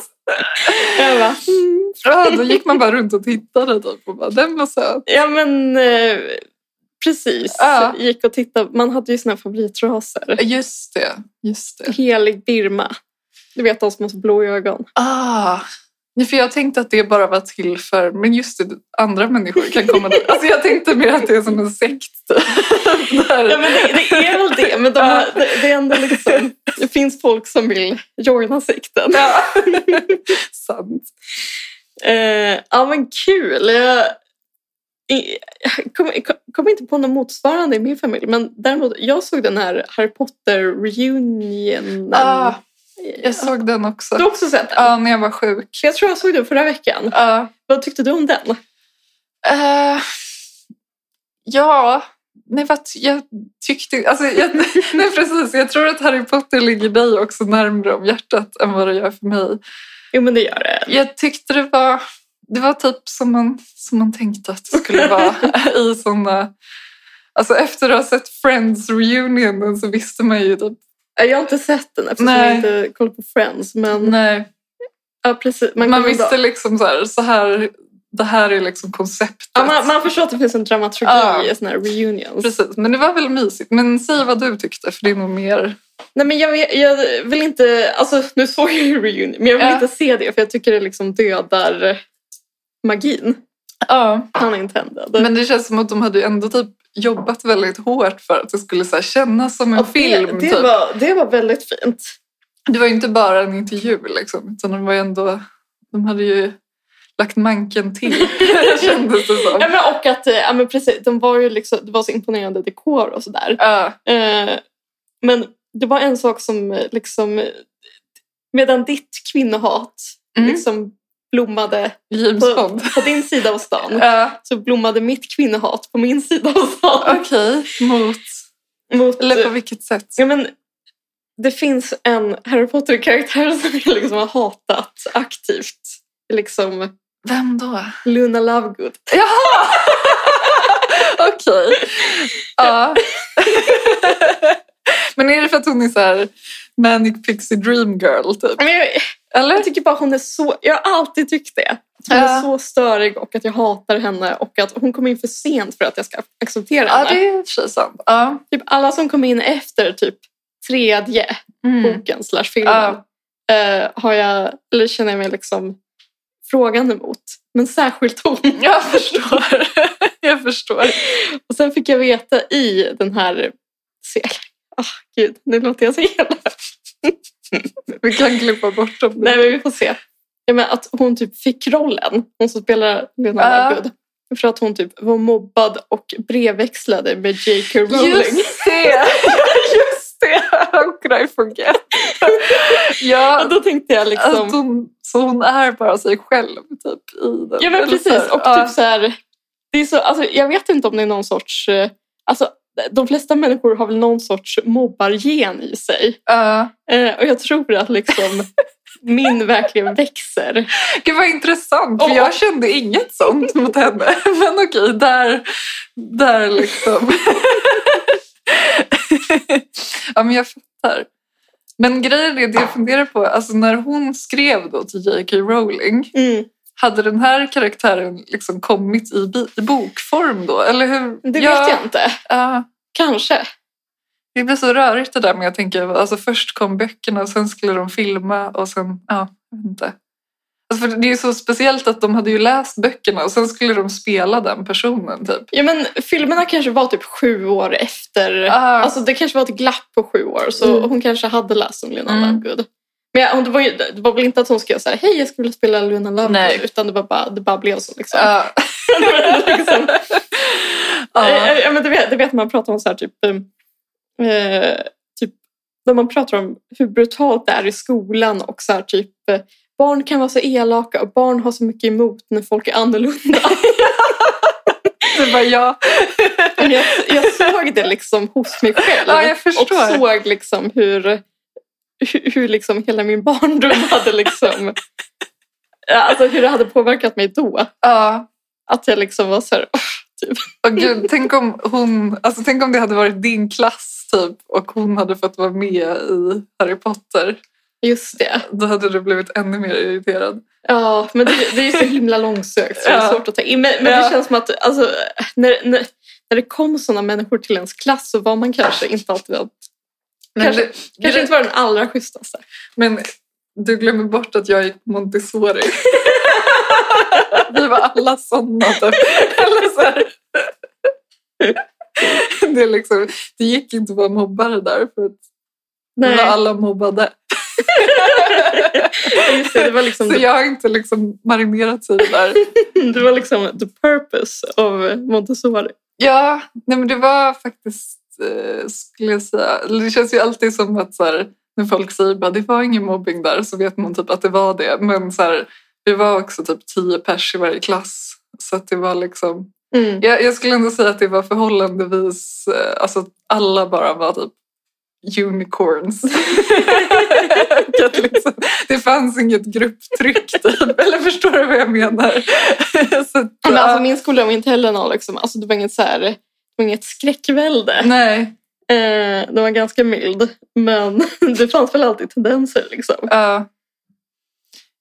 [SPEAKER 3] Jag bara,
[SPEAKER 2] Ja, då gick man bara runt och tittade typ, och bara, den var söt.
[SPEAKER 3] ja, men eh, precis.
[SPEAKER 2] Ja.
[SPEAKER 3] Gick och tittade. Man hade ju sina favoritraser.
[SPEAKER 2] Just det, just det.
[SPEAKER 3] Helig Birma. Du vet de som har så blå ögon.
[SPEAKER 2] Ah, nej, för jag tänkte att det bara var till för, men just det, andra människor kan komma dit. Alltså jag tänkte mer att det är som en sekt. typ. Där.
[SPEAKER 3] Ja, men det, det är väl det. Men de har,
[SPEAKER 2] Ja.
[SPEAKER 3] det, det, är ändå liksom, det finns folk som vill joina sekten.
[SPEAKER 2] Ja. Sant.
[SPEAKER 3] Eh, ja men kul. Jag i- jag kom, kom, kom inte på något motsvarande i min familj. Men däremot, jag såg den här Harry Potter reunion.
[SPEAKER 2] Ah, jag såg den också.
[SPEAKER 3] Du har också sett den?
[SPEAKER 2] Ja, när jag var sjuk.
[SPEAKER 3] Jag tror jag såg den förra veckan.
[SPEAKER 2] Ja.
[SPEAKER 3] Vad tyckte du om den?
[SPEAKER 2] Eh, ja, nej vad ty- jag tyckte... Alltså, jag, nej precis, jag tror att Harry Potter ligger dig också närmare om hjärtat än vad det gör för mig.
[SPEAKER 3] Jo men det gör det.
[SPEAKER 2] Jag tyckte det var, det var typ som man, som man tänkte att det skulle vara i såna... Alltså efter att ha sett Friends reunionen så visste man ju typ...
[SPEAKER 3] Eh, Jag har inte sett den eftersom
[SPEAKER 2] Nej.
[SPEAKER 3] jag inte kollar på Friends. Men
[SPEAKER 2] Nej,
[SPEAKER 3] ja, precis,
[SPEAKER 2] man,
[SPEAKER 3] kan
[SPEAKER 2] visste
[SPEAKER 3] ändå-
[SPEAKER 2] liksom så här, så här, det här är liksom konceptet.
[SPEAKER 3] ja, man, man förstår att det finns en dramaturgi
[SPEAKER 2] Ja.
[SPEAKER 3] i en sån här reunions.
[SPEAKER 2] Precis, men det var väl mysigt. Men säg vad du tyckte, för det är nog mer...
[SPEAKER 3] Nej men jag, vet- jag vill inte, alltså nu såg jag ju reunion, men jag vill
[SPEAKER 2] Ja.
[SPEAKER 3] inte se det för jag tycker det liksom dödar magin.
[SPEAKER 2] Ja.
[SPEAKER 3] Han är intended.
[SPEAKER 2] Men det känns som att de hade ju ändå typ jobbat väldigt hårt för att det skulle så här kännas som en
[SPEAKER 3] Ja,
[SPEAKER 2] film.
[SPEAKER 3] Det, det,
[SPEAKER 2] typ.
[SPEAKER 3] var, det var väldigt fint.
[SPEAKER 2] Det var ju inte bara en intervju, liksom, utan de var ju ändå... De hade ju lagt manken till, kändes det som.
[SPEAKER 3] Ja, men och att, eh, ja, men precis, de var ju liksom, det var så imponerande dekor och sådär.
[SPEAKER 2] Ja,
[SPEAKER 3] Eh, men det var en sak som eh, liksom, eh, medan ditt kvinnohat
[SPEAKER 2] Mm.
[SPEAKER 3] liksom blommade
[SPEAKER 2] James
[SPEAKER 3] på,
[SPEAKER 2] Bond.
[SPEAKER 3] på din sida av stan
[SPEAKER 2] Ja,
[SPEAKER 3] så blommade mitt kvinnohat på min sida av stan.
[SPEAKER 2] Okej, mot...
[SPEAKER 3] Mot,
[SPEAKER 2] Eller på vilket sätt?
[SPEAKER 3] Ja, men det finns en Harry Potter-karaktär som jag liksom har hatat aktivt. Liksom
[SPEAKER 2] Vem då?
[SPEAKER 3] Luna Lovegood.
[SPEAKER 2] Jaha! Okej. Ja. Men är det för att hon är så här manic pixie dream girl, typ?
[SPEAKER 3] Men jag,
[SPEAKER 2] Eller?
[SPEAKER 3] Jag tycker bara hon är så... Jag har alltid tyckt det. Att hon
[SPEAKER 2] Ja.
[SPEAKER 3] är så störig och att jag hatar henne och att hon kom in för sent för att jag ska acceptera
[SPEAKER 2] Ja,
[SPEAKER 3] henne.
[SPEAKER 2] det är i och för sig sant. Ja.
[SPEAKER 3] Typ alla som kom in efter typ tredje
[SPEAKER 2] Mm.
[SPEAKER 3] boken slash filmen eh, har jag, eller känner jag mig liksom frågande mot. Men särskilt hon.
[SPEAKER 2] Jag förstår. jag förstår.
[SPEAKER 3] Och sen fick jag veta i den här serien. Ah, gud, nu låter jag så jävla...
[SPEAKER 2] Vi kan klippa bort dem.
[SPEAKER 3] Nej, men vi får se. Ja, men att hon typ fick rollen, hon som spelar Leonardo
[SPEAKER 2] Ja.
[SPEAKER 3] Good. För att hon typ var mobbad och brevväxlade med J.K. Rowling.
[SPEAKER 2] Just det! Just det! How could I forget?
[SPEAKER 3] Och
[SPEAKER 2] ja,
[SPEAKER 3] då tänkte jag liksom...
[SPEAKER 2] att hon, så hon är bara sig själv typ i den.
[SPEAKER 3] Ja men
[SPEAKER 2] Eller så
[SPEAKER 3] precis.
[SPEAKER 2] här,
[SPEAKER 3] Och
[SPEAKER 2] ja.
[SPEAKER 3] typ så här, det är så, alltså, jag vet inte om det är någon sorts... eh, Alltså, de flesta människor har väl någon sorts mobbargen i sig.
[SPEAKER 2] Ja.
[SPEAKER 3] Eh, och jag tror att liksom min verkligen växer.
[SPEAKER 2] Gud vad intressant, för
[SPEAKER 3] Och-
[SPEAKER 2] jag kände inget sånt mot henne. Men okej, där, där liksom. ja, men jag fattar. Men grejen är det jag funderar på, alltså när hon skrev då till J.K. Rowling,
[SPEAKER 3] Mm.
[SPEAKER 2] hade den här karaktären liksom kommit i, bi- i bokform då? Eller hur?
[SPEAKER 3] Det vet
[SPEAKER 2] Ja,
[SPEAKER 3] jag inte.
[SPEAKER 2] ja.
[SPEAKER 3] Kanske.
[SPEAKER 2] det blir så rörigt det där men jag tänker, alltså först kom böckerna, sen skulle de filma och sen, ja, jag vet inte. Alltså för det är ju så speciellt att de hade ju läst böckerna och sen skulle de spela den personen typ.
[SPEAKER 3] Ja, men filmerna kanske var typ sju år efter.
[SPEAKER 2] Ah,
[SPEAKER 3] Alltså, det kanske var ett glapp på sju år, så
[SPEAKER 2] Mm.
[SPEAKER 3] hon kanske hade läst om Luna
[SPEAKER 2] Mm.
[SPEAKER 3] Lovegood. Men ja, hon, det, var ju, det var väl inte att hon skrev så här, hej jag skulle vilja spela Luna Lovegood,
[SPEAKER 2] Nej.
[SPEAKER 3] utan det, var bara, det bara blev så. Liksom.
[SPEAKER 2] ja.
[SPEAKER 3] liksom.
[SPEAKER 2] ja.
[SPEAKER 3] Eh, Ja, men det, vet, det vet man pratar om så här, typ, eh, typ när man pratar om hur brutalt det är i skolan och så här, typ eh, barn kan vara så elaka och barn har så mycket emot när folk är annorlunda.
[SPEAKER 2] Det var jag.
[SPEAKER 3] Men jag, jag såg det liksom hos mig själv
[SPEAKER 2] Ja, jag förstår.
[SPEAKER 3] och såg liksom hur, hur, hur liksom hela min barndom hade liksom Ja, Alltså hur det hade påverkat mig då.
[SPEAKER 2] Ja.
[SPEAKER 3] Att jag liksom var så här,
[SPEAKER 2] Och gud, tänk om hon, alltså tänk om det hade varit din klass typ och hon hade fått vara med i Harry Potter.
[SPEAKER 3] just det.
[SPEAKER 2] Då hade du blivit ännu mer irriterad.
[SPEAKER 3] Ja, men det, det är ju så himla långsökt så det är
[SPEAKER 2] Ja.
[SPEAKER 3] svårt att ta in. Men, men
[SPEAKER 2] Ja.
[SPEAKER 3] det känns som att alltså, när, när, när det kom sådana människor till ens klass så var man kanske inte alltid den, Kanske-
[SPEAKER 2] det,
[SPEAKER 3] kanske inte var den allra schysstaste.
[SPEAKER 2] Men du glömmer bort att jag gick på Montessori. Vi var alla sådana. Typ. Eller så här. Det, är liksom, det gick inte att vara mobbare där för att vi
[SPEAKER 3] Nej,
[SPEAKER 2] var alla mobbade.
[SPEAKER 3] just det, det var liksom,
[SPEAKER 2] Så jag har inte liksom marinerat sig där.
[SPEAKER 3] det var liksom the purpose of Montessori.
[SPEAKER 2] Ja, nej men det var faktiskt, eh, skulle jag säga, eller det känns ju alltid som att så här, när folk säger bara det var ingen mobbing där så vet man typ att det var det. Men så här, vi var också typ tio pers i varje klass. Så att det var liksom,
[SPEAKER 3] Mm.
[SPEAKER 2] jag, jag skulle ändå säga att det var förhållandevis, eh, alltså att alla bara var typ unicorns. Att liksom, det fanns inget grupptryck typ, eller förstår du vad jag menar? så att,
[SPEAKER 3] Men
[SPEAKER 2] ja,
[SPEAKER 3] alltså, min skola var inte heller någon, liksom, alltså, det var inget, så här, det var inget skräckvälde.
[SPEAKER 2] nej,
[SPEAKER 3] Eh, den var ganska mild, men det fanns väl alltid tendenser. Liksom.
[SPEAKER 2] Ja.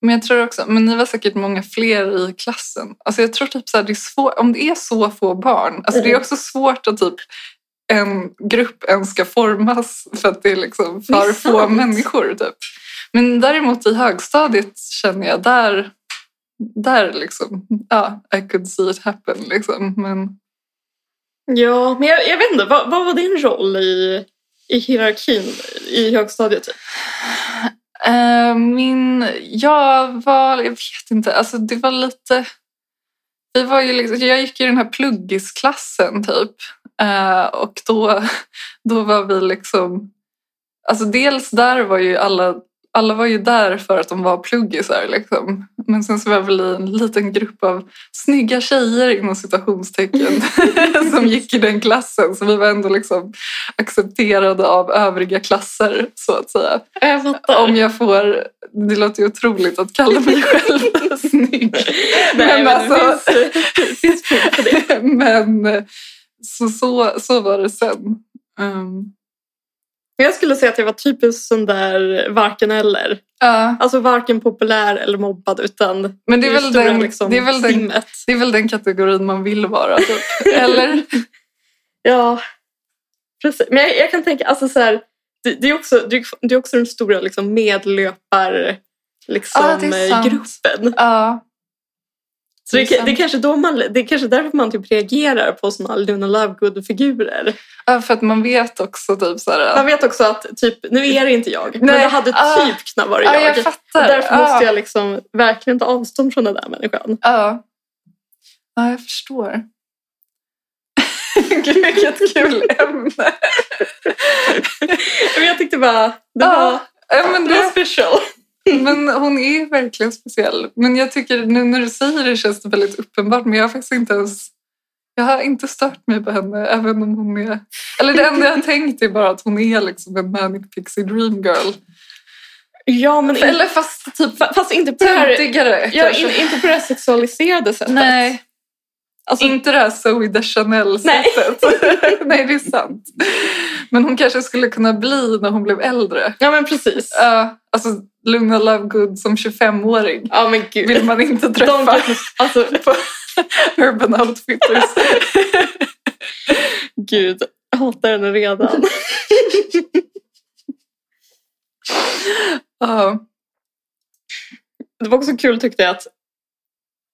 [SPEAKER 2] Men jag tror också, men ni var säkert många fler i klassen. Alltså jag tror typ så här, det är svårt, om det är så få barn, alltså det är
[SPEAKER 3] Mm.
[SPEAKER 2] också svårt att typ en grupp ens ska formas för att det är liksom
[SPEAKER 3] Det är
[SPEAKER 2] för få
[SPEAKER 3] sant.
[SPEAKER 2] människor. Typ. Men däremot i högstadiet känner jag där, där liksom, ja, I could see it happen liksom. Men
[SPEAKER 3] Ja, men jag, jag vet inte. Vad, vad var din roll i, i hierarkin i högstadiet? typ?
[SPEAKER 2] Eh, min, jag var, jag vet inte, alltså det var lite, vi var ju liksom, jag gick i den här pluggisklassen typ Eh, och då, då var vi liksom, alltså dels där var ju alla, alla var ju där för att de var pluggisar liksom. Men sen så var vi i en liten grupp av snygga tjejer inom citationstecken som gick i den klassen. Så vi var ändå liksom accepterade av övriga klasser så att säga.
[SPEAKER 3] Jag fattar.
[SPEAKER 2] Om jag får, det låter ju otroligt att kalla mig själv snygg.
[SPEAKER 3] Nej, men
[SPEAKER 2] alltså-
[SPEAKER 3] det finns, det finns fog för det.
[SPEAKER 2] Um, Men eh, så, så, så var det sen. Ehm,
[SPEAKER 3] Men jag skulle säga att jag var typiskt sån där varken eller.
[SPEAKER 2] Ja,
[SPEAKER 3] Alltså varken populär eller mobbad utan
[SPEAKER 2] men det är, väl
[SPEAKER 3] stora,
[SPEAKER 2] den,
[SPEAKER 3] liksom,
[SPEAKER 2] det, är väl den,
[SPEAKER 3] simmet.
[SPEAKER 2] det är väl den kategorin man vill vara. Typ. Eller?
[SPEAKER 3] Ja, precis. Men jag, jag kan tänka, alltså så här, det, det, är också, det, är- det är också den stora liksom, medlöpar liksom,
[SPEAKER 2] Ja, det är
[SPEAKER 3] eh,
[SPEAKER 2] sant.
[SPEAKER 3] gruppen.
[SPEAKER 2] Ja.
[SPEAKER 3] Så det,
[SPEAKER 2] Det är
[SPEAKER 3] det,
[SPEAKER 2] sant.
[SPEAKER 3] är kanske då man, det är kanske därför man typ reagerar på såna Luna Lovegood-figurer.
[SPEAKER 2] ja, för att man vet också typ så här...
[SPEAKER 3] Man vet också att typ, nu är det inte jag, men
[SPEAKER 2] Nej,
[SPEAKER 3] det hade
[SPEAKER 2] ah.
[SPEAKER 3] typ kunnat vara
[SPEAKER 2] ja,
[SPEAKER 3] jag.
[SPEAKER 2] jag
[SPEAKER 3] och
[SPEAKER 2] fattar. Ah.
[SPEAKER 3] därför
[SPEAKER 2] ja.
[SPEAKER 3] måste jag liksom verkligen ta avstånd från den där människan.
[SPEAKER 2] Ja. ja, jag förstår. Gud, vilket kul ämne.
[SPEAKER 3] Men jag tyckte bara, det,
[SPEAKER 2] Ja, ja,
[SPEAKER 3] var,
[SPEAKER 2] men,
[SPEAKER 3] det var
[SPEAKER 2] det,
[SPEAKER 3] special.
[SPEAKER 2] men hon är verkligen speciell. Men jag tycker nu när du säger det känns det väldigt uppenbart. Men jag har faktiskt inte ens... Jag har inte stört mig på henne, även om hon är... Eller det enda jag har tänkt är bara att hon är liksom en manic pixie dream girl.
[SPEAKER 3] Ja, men
[SPEAKER 2] Eller fast typ
[SPEAKER 3] fa- fast inte på det här,
[SPEAKER 2] töntigare
[SPEAKER 3] ja,
[SPEAKER 2] kanske.
[SPEAKER 3] in, inte på det här sexualiserade sättet.
[SPEAKER 2] Nej,
[SPEAKER 3] Alltså,
[SPEAKER 2] inte det här Zoe de Chanel-sättet. Nej. det är sant. Men hon kanske skulle kunna bli när hon blev äldre.
[SPEAKER 3] Ja men precis.
[SPEAKER 2] Ja, alltså Luna Lovegood som 25-åring
[SPEAKER 3] Ja men gud.
[SPEAKER 2] vill man inte träffa.
[SPEAKER 3] De- Alltså
[SPEAKER 2] på Urban Outfitters.
[SPEAKER 3] gud, jag hatar henne redan.
[SPEAKER 2] Ja,
[SPEAKER 3] Det var också kul tyckte jag att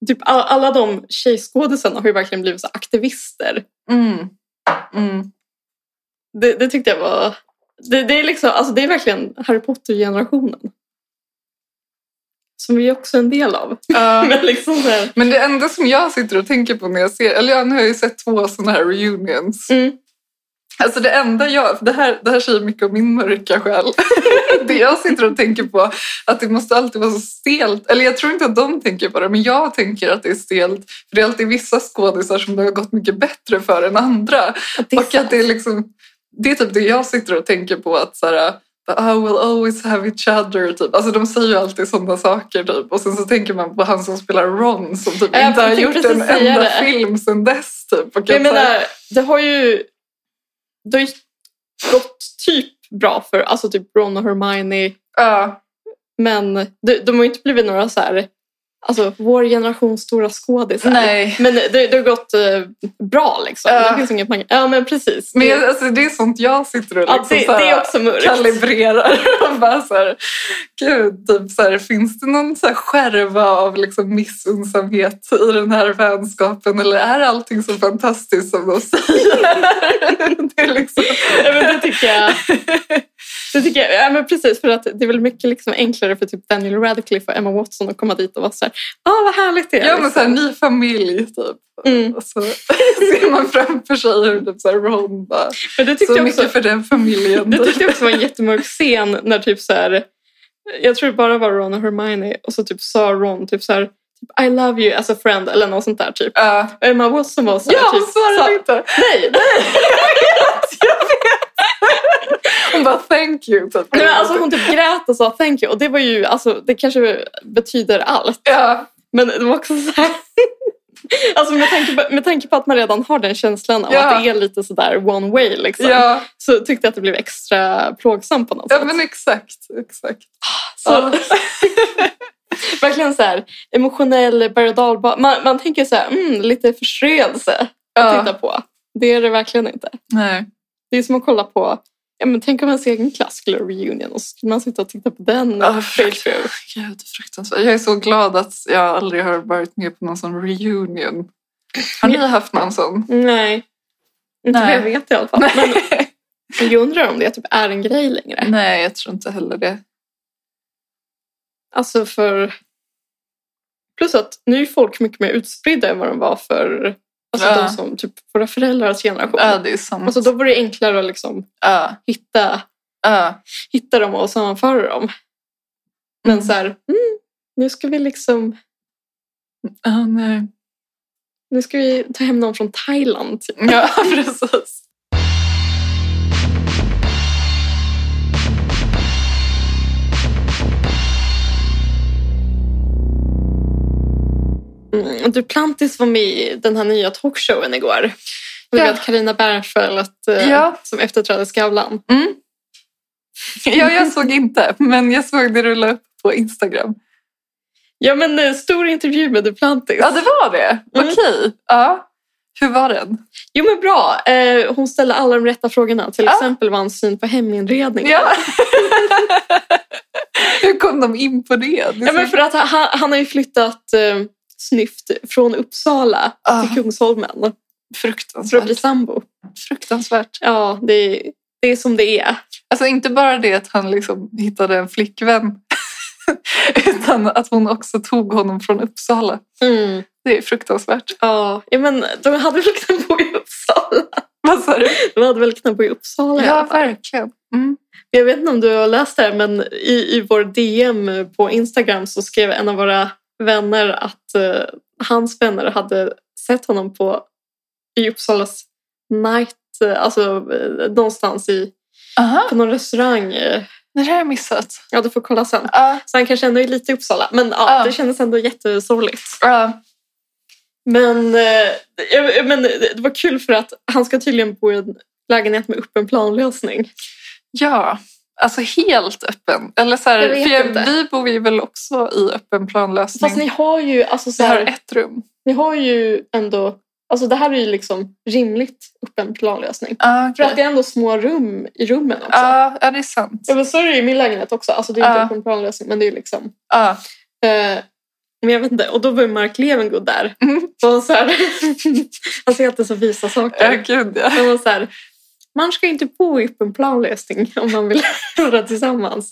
[SPEAKER 3] typ all, alla de tjejskådisarna har ju verkligen blivit så aktivister.
[SPEAKER 2] mm. Mm.
[SPEAKER 3] Det, det tyckte jag var... Det, det, är liksom, alltså, det är verkligen Harry Potter-generationen. Som vi är också en del av.
[SPEAKER 2] Ja.
[SPEAKER 3] Men liksom så här,
[SPEAKER 2] Ah, Men det enda som jag sitter och tänker på när jag ser, eller ja, nu har jag ju sett två sådana här reunions.
[SPEAKER 3] mm,
[SPEAKER 2] Alltså det enda jag, det här, det här säger mycket om min mörka själ. Det jag sitter och tänker på, att det måste alltid vara så stelt. Eller jag tror inte att de tänker på det, men jag tänker att det är stelt. För det är alltid vissa skådisar som det har gått mycket bättre för än andra.
[SPEAKER 3] det är
[SPEAKER 2] och att det är liksom, det är typ det jag sitter och tänker på att så här, "But I will always have each other. Typ. Alltså de säger ju alltid sådana saker typ. Och sen så tänker man på han som spelar Ron som typ
[SPEAKER 3] Ja, jag
[SPEAKER 2] inte har
[SPEAKER 3] tänkte
[SPEAKER 2] gjort en
[SPEAKER 3] precis säga
[SPEAKER 2] enda
[SPEAKER 3] det.
[SPEAKER 2] film sedan dess typ. Och
[SPEAKER 3] Men jag
[SPEAKER 2] att så här-
[SPEAKER 3] menar, det har ju... Det har ju gått typ bra för alltså typ Ron och Hermione.
[SPEAKER 2] ja,
[SPEAKER 3] Men de, de har ju inte blivit några så här, alltså vår generations stora skådisar.
[SPEAKER 2] nej.
[SPEAKER 3] Men det, det har gått eh, bra liksom.
[SPEAKER 2] Ja.
[SPEAKER 3] Det finns inget man, Ja men precis.
[SPEAKER 2] Men
[SPEAKER 3] det,
[SPEAKER 2] jag, alltså, det är sånt jag sitter och
[SPEAKER 3] ja,
[SPEAKER 2] liksom
[SPEAKER 3] det,
[SPEAKER 2] så här,
[SPEAKER 3] det är också mörkt.
[SPEAKER 2] kalibrerar. Och bara så här, Gud, typ så här, finns det någon så här skärva av liksom missunnsamhet i den här vänskapen? Eller är allting så fantastiskt som de säger? det är liksom,
[SPEAKER 3] Ja, men det tycker jag. Det tycker jag ja, men precis, för att det är väl mycket liksom enklare för typ Daniel Radcliffe och Emma Watson att komma dit och vara så här, ja vad härligt det är.
[SPEAKER 2] ja, men så här,
[SPEAKER 3] liksom.
[SPEAKER 2] ny familj typ.
[SPEAKER 3] Mm.
[SPEAKER 2] Och så ser man framför sig hur typ så här, Ron bara,
[SPEAKER 3] Men det tyckte
[SPEAKER 2] så
[SPEAKER 3] jag också,
[SPEAKER 2] mycket för den familjen.
[SPEAKER 3] Det tyckte jag också var en jättemörk scen när typ så här, jag tror det bara var Ron och Hermione och så typ sa Ron typ så här, typ, I love you as a friend eller något sånt där typ.
[SPEAKER 2] Ja.
[SPEAKER 3] Och Emma Watson var så här,
[SPEAKER 2] Ja, hon
[SPEAKER 3] typ, sa-
[SPEAKER 2] svarade inte.
[SPEAKER 3] nej, nej.
[SPEAKER 2] Hon bara thank you. Typ.
[SPEAKER 3] nej men alltså hon typ grät och sa thank you och det var ju, alltså det kanske betyder allt.
[SPEAKER 2] ja.
[SPEAKER 3] Men det var också så här, alltså med tanke, på, med tanke på att man redan har den känslan av
[SPEAKER 2] Ja.
[SPEAKER 3] att det är lite så där one way liksom.
[SPEAKER 2] Ja,
[SPEAKER 3] Så tyckte jag att det blev extra plågsamt på något
[SPEAKER 2] ja
[SPEAKER 3] sätt.
[SPEAKER 2] men exakt. exakt.
[SPEAKER 3] Så, Verkligen så här emotionell berg och dalba- man, man tänker så här, mm, lite förströelse att
[SPEAKER 2] Ja.
[SPEAKER 3] titta på. Det är det verkligen inte.
[SPEAKER 2] Nej.
[SPEAKER 3] Det är som att kolla på, ja, men tänk om ens egen klass skulle ha reunion och så skulle man sitta och titta på den.
[SPEAKER 2] Ja,
[SPEAKER 3] playthrough.
[SPEAKER 2] Gud, fruktansvärt. Jag är så glad att jag aldrig har varit med på någon sån reunion. Har ni haft någon sån?
[SPEAKER 3] Nej. Inte vad
[SPEAKER 2] Nej.
[SPEAKER 3] jag vet i alla fall. Men, men jag undrar om det typ är en grej längre.
[SPEAKER 2] Nej, jag tror inte heller det.
[SPEAKER 3] Alltså för... Plus att nu är folk mycket mer utspridda än vad de var för alltså
[SPEAKER 2] Ja.
[SPEAKER 3] de som, typ, våra föräldrars generation.
[SPEAKER 2] Ja, Äh, det är Äh, sant.
[SPEAKER 3] Alltså då var det enklare att liksom
[SPEAKER 2] ja,
[SPEAKER 3] hitta,
[SPEAKER 2] ja.
[SPEAKER 3] hitta dem och sammanföra dem. Men så här, mm, nu ska vi liksom
[SPEAKER 2] Ja, nej.
[SPEAKER 3] nu ska vi ta hem någon från Thailand. Typ.
[SPEAKER 2] Ja, precis.
[SPEAKER 3] Mm. och Duplantis var med i den här nya talkshowen igår. Du
[SPEAKER 2] Ja.
[SPEAKER 3] vet Carina Bernfeldt eh,
[SPEAKER 2] Ja.
[SPEAKER 3] som efterträdde Skavlan.
[SPEAKER 2] Mm. Ja, jag såg inte, men jag såg det rulla upp på Instagram.
[SPEAKER 3] Ja, men eh, stor intervju med Duplantis.
[SPEAKER 2] Ja, det var det?
[SPEAKER 3] Mm.
[SPEAKER 2] Okej. Ja. Hur var den?
[SPEAKER 3] Jo, men bra. Eh, hon ställde alla de rätta frågorna. Till
[SPEAKER 2] Ja.
[SPEAKER 3] exempel vad hans syn på heminredning.
[SPEAKER 2] Ja. Hur kom de in på det? det är
[SPEAKER 3] Ja,
[SPEAKER 2] så-
[SPEAKER 3] men för att han, han har ju flyttat eh, snyft från Uppsala
[SPEAKER 2] Ah,
[SPEAKER 3] till Kungsholmen för att bli
[SPEAKER 2] fruktansvärt.
[SPEAKER 3] sambo.
[SPEAKER 2] fruktansvärt.
[SPEAKER 3] Ja, det, det är som det är.
[SPEAKER 2] Alltså inte bara det att han liksom hittade en flickvän. utan att hon också tog honom från Uppsala. Det är fruktansvärt.
[SPEAKER 3] Mm. Ja, ja, men de hade väl knappt bo i Uppsala?
[SPEAKER 2] Vad sa du?
[SPEAKER 3] De hade väl knappt bo i Uppsala? i
[SPEAKER 2] Ja,
[SPEAKER 3] alla fall.
[SPEAKER 2] verkligen. Mm.
[SPEAKER 3] Jag vet inte om du har läst det här, men i, i vår DM på Instagram så skrev en av våra vänner att eh, hans vänner hade sett honom på i Uppsalas night, eh, alltså eh, någonstans i,
[SPEAKER 2] Aha,
[SPEAKER 3] på någon restaurang. eh.
[SPEAKER 2] det här har jag missat.
[SPEAKER 3] Ja, du får kolla sen.
[SPEAKER 2] Ja,
[SPEAKER 3] Så han kanske ändå är lite i Uppsala, men ja,
[SPEAKER 2] Ja.
[SPEAKER 3] det kändes ändå jättesorgligt.
[SPEAKER 2] ja.
[SPEAKER 3] Men, eh, jag- men det var kul för att han ska tydligen bo i en lägenhet med öppen planlösning.
[SPEAKER 2] ja. Alltså helt öppen. Eller så här,
[SPEAKER 3] Jag vet
[SPEAKER 2] för
[SPEAKER 3] inte.
[SPEAKER 2] vi bor ju väl också i öppen planlösning.
[SPEAKER 3] Fast ni har ju, alltså så
[SPEAKER 2] vi har
[SPEAKER 3] här,
[SPEAKER 2] ett rum.
[SPEAKER 3] ni har ju ändå, alltså det här är ju liksom rimligt öppen planlösning.
[SPEAKER 2] Ja,
[SPEAKER 3] För
[SPEAKER 2] okej.
[SPEAKER 3] att det är ändå små rum i rummen också.
[SPEAKER 2] Ja, ja, det är sant.
[SPEAKER 3] Ja, men så är det ju i min lägenhet också. Alltså det är inte
[SPEAKER 2] Ja.
[SPEAKER 3] öppen planlösning, men det är ju liksom...
[SPEAKER 2] Ja.
[SPEAKER 3] eh, men jag vet inte, och då var ju Mark Levengood där.
[SPEAKER 2] Mm.
[SPEAKER 3] Så han, så här, han säger alltid så visa saker.
[SPEAKER 2] Ja, gud ja.
[SPEAKER 3] Det var så här, man ska inte bo i öppen planlösning om man vill vara tillsammans.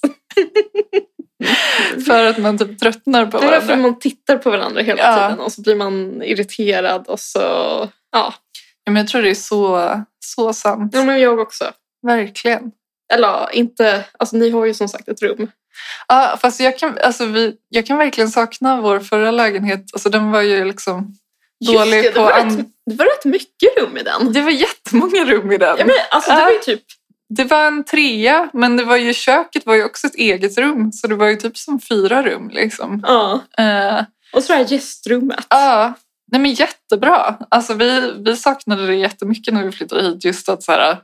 [SPEAKER 2] För att man typ tröttnar på
[SPEAKER 3] Det är därför
[SPEAKER 2] varandra.
[SPEAKER 3] man tittar på varandra hela
[SPEAKER 2] Ja.
[SPEAKER 3] tiden och så blir man irriterad och så... Ja,
[SPEAKER 2] Ja, men jag tror det är så, så sant.
[SPEAKER 3] ja men jag också.
[SPEAKER 2] Verkligen.
[SPEAKER 3] Eller ja, inte... Alltså ni har ju som sagt ett rum.
[SPEAKER 2] Ja, fast jag kan, alltså vi, jag kan verkligen sakna vår förra lägenhet. Alltså den var ju liksom dålig
[SPEAKER 3] Just det,
[SPEAKER 2] på...
[SPEAKER 3] det, var typ-
[SPEAKER 2] an-
[SPEAKER 3] rätt, det var rätt mycket rum i den.
[SPEAKER 2] det var jättemånga rum i den.
[SPEAKER 3] Ja, men, alltså, det
[SPEAKER 2] Ja.
[SPEAKER 3] var ju typ...
[SPEAKER 2] Det var en trea, men det var ju, köket var ju också ett eget rum. Så det var ju typ som fyra rum liksom.
[SPEAKER 3] Ja.
[SPEAKER 2] Eh,
[SPEAKER 3] Och så det här gästrummet.
[SPEAKER 2] Ja, nej men jättebra. Alltså vi, vi saknade det jättemycket när vi flyttade hit. Just att så här,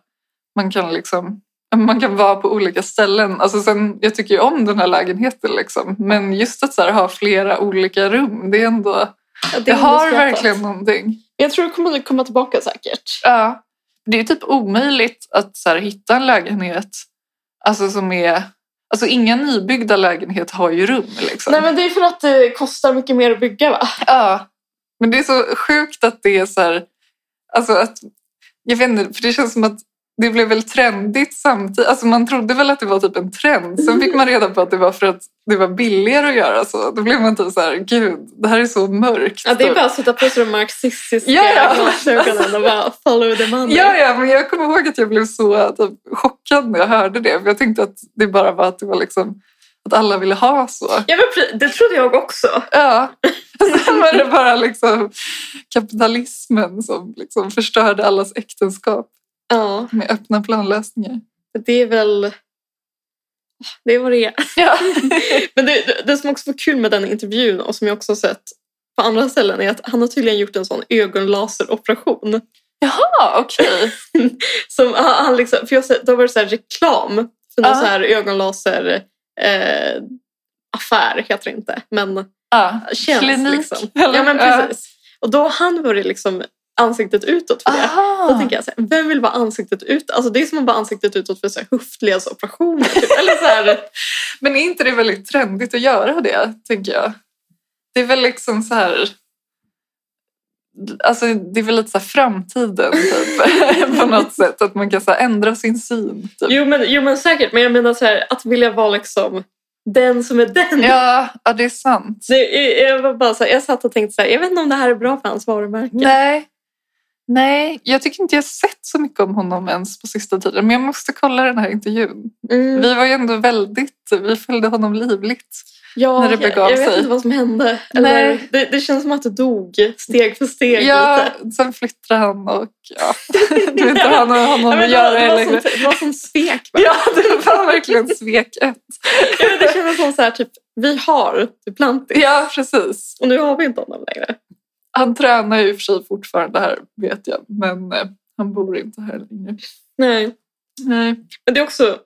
[SPEAKER 2] man kan liksom man kan vara på olika ställen. Alltså sen, jag tycker ju om den här lägenheten, liksom. men just att så här, ha flera olika rum, det, är ändå,
[SPEAKER 3] Ja,
[SPEAKER 2] det,
[SPEAKER 3] är
[SPEAKER 2] har
[SPEAKER 3] underskattat.
[SPEAKER 2] verkligen någonting.
[SPEAKER 3] Jag tror det kommer komma tillbaka säkert.
[SPEAKER 2] Ja. Det är typ omöjligt att så här, hitta en lägenhet alltså, som är... Alltså inga nybyggda lägenheter har ju rum. Liksom.
[SPEAKER 3] Nej, men det är för att det kostar mycket mer att bygga, va?
[SPEAKER 2] Ja, men det är så sjukt att det är så här... Alltså att, jag vet inte, för det känns som att det blev väl trendigt samtidigt. Alltså man trodde väl att det var typ en trend. Sen fick man reda på att det var för att det var billigare att göra så. Då blev man typ så här, gud, det här är så mörkt.
[SPEAKER 3] Ja, det är
[SPEAKER 2] typ.
[SPEAKER 3] bara att sätta på sig de marxistiska
[SPEAKER 2] Ja, ja.
[SPEAKER 3] glasögonen och bara follow the money.
[SPEAKER 2] Ja, ja, men jag kommer ihåg att jag blev så typ, chockad när jag hörde det. För jag tänkte att det bara var att det var liksom att alla ville ha så.
[SPEAKER 3] Ja, men pre- det trodde jag också.
[SPEAKER 2] Ja. Sen var det bara liksom kapitalismen som liksom förstörde allas äktenskap
[SPEAKER 3] Ja,
[SPEAKER 2] med öppna planlösningar.
[SPEAKER 3] det är väl... Det är vad det är.
[SPEAKER 2] Ja.
[SPEAKER 3] Men det, det som också var kul med den intervjun och som jag också har sett på andra ställen är att han har tydligen gjort en sån ögonlaseroperation.
[SPEAKER 2] Ja, okej.
[SPEAKER 3] Som han, han liksom, för jag, har sett- då var det så här reklam för någon
[SPEAKER 2] Ja.
[SPEAKER 3] så här ögonlaser... Eh, affär heter det inte, men
[SPEAKER 2] Ja.
[SPEAKER 3] tjänst
[SPEAKER 2] Klinik,
[SPEAKER 3] liksom.
[SPEAKER 2] eller?
[SPEAKER 3] Ja, men
[SPEAKER 2] Ja.
[SPEAKER 3] precis. Och då har han varit liksom ansiktet utåt för det. Då
[SPEAKER 2] Aha.
[SPEAKER 3] tänker jag så här, vem vill vara ansiktet ut? Alltså det är som att vara ansiktet utåt för så här höftledsoperationer. Typ. Eller så här,
[SPEAKER 2] Men är inte det väldigt trendigt att göra det, tänker jag? Det är väl liksom så här... Alltså, det är väl lite så här framtiden typ, på något sätt. Att man kan så här, ändra sin syn. Typ.
[SPEAKER 3] jo, men, jo men säkert, men jag menar så här, att vilja vara liksom den som är den.
[SPEAKER 2] Ja, ja, det är sant.
[SPEAKER 3] Så jag, jag, var bara så här, jag satt och tänkte så här, jag vet inte om det här är bra för hans varumärke.
[SPEAKER 2] Nej. Nej, jag tycker inte jag sett så mycket om honom ens på sista tiden. Men jag måste kolla den här intervjun.
[SPEAKER 3] Mm.
[SPEAKER 2] Vi var ju ändå väldigt... Vi följde honom livligt.
[SPEAKER 3] ja,
[SPEAKER 2] när det begav
[SPEAKER 3] jag, jag vet
[SPEAKER 2] sig.
[SPEAKER 3] inte vad som hände. Eller,
[SPEAKER 2] Nej.
[SPEAKER 3] det, det känns som att det dog steg för steg.
[SPEAKER 2] Ja,
[SPEAKER 3] lite.
[SPEAKER 2] sen flyttade han och ja. Du vet inte vad han har med
[SPEAKER 3] Ja,
[SPEAKER 2] honom
[SPEAKER 3] men
[SPEAKER 2] att
[SPEAKER 3] det, var,
[SPEAKER 2] göra
[SPEAKER 3] det, var
[SPEAKER 2] längre.
[SPEAKER 3] som, det var som svek. bara.
[SPEAKER 2] liksom. Ja, det var verkligen svek ett.
[SPEAKER 3] Ja, men det kändes som så här, typ, vi har Duplantis
[SPEAKER 2] Ja, precis.
[SPEAKER 3] och nu har vi inte honom längre.
[SPEAKER 2] Han tränar ju i och för sig fortfarande här, vet jag. Men eh, han bor inte här längre.
[SPEAKER 3] Nej.
[SPEAKER 2] Nej.
[SPEAKER 3] Men det är också...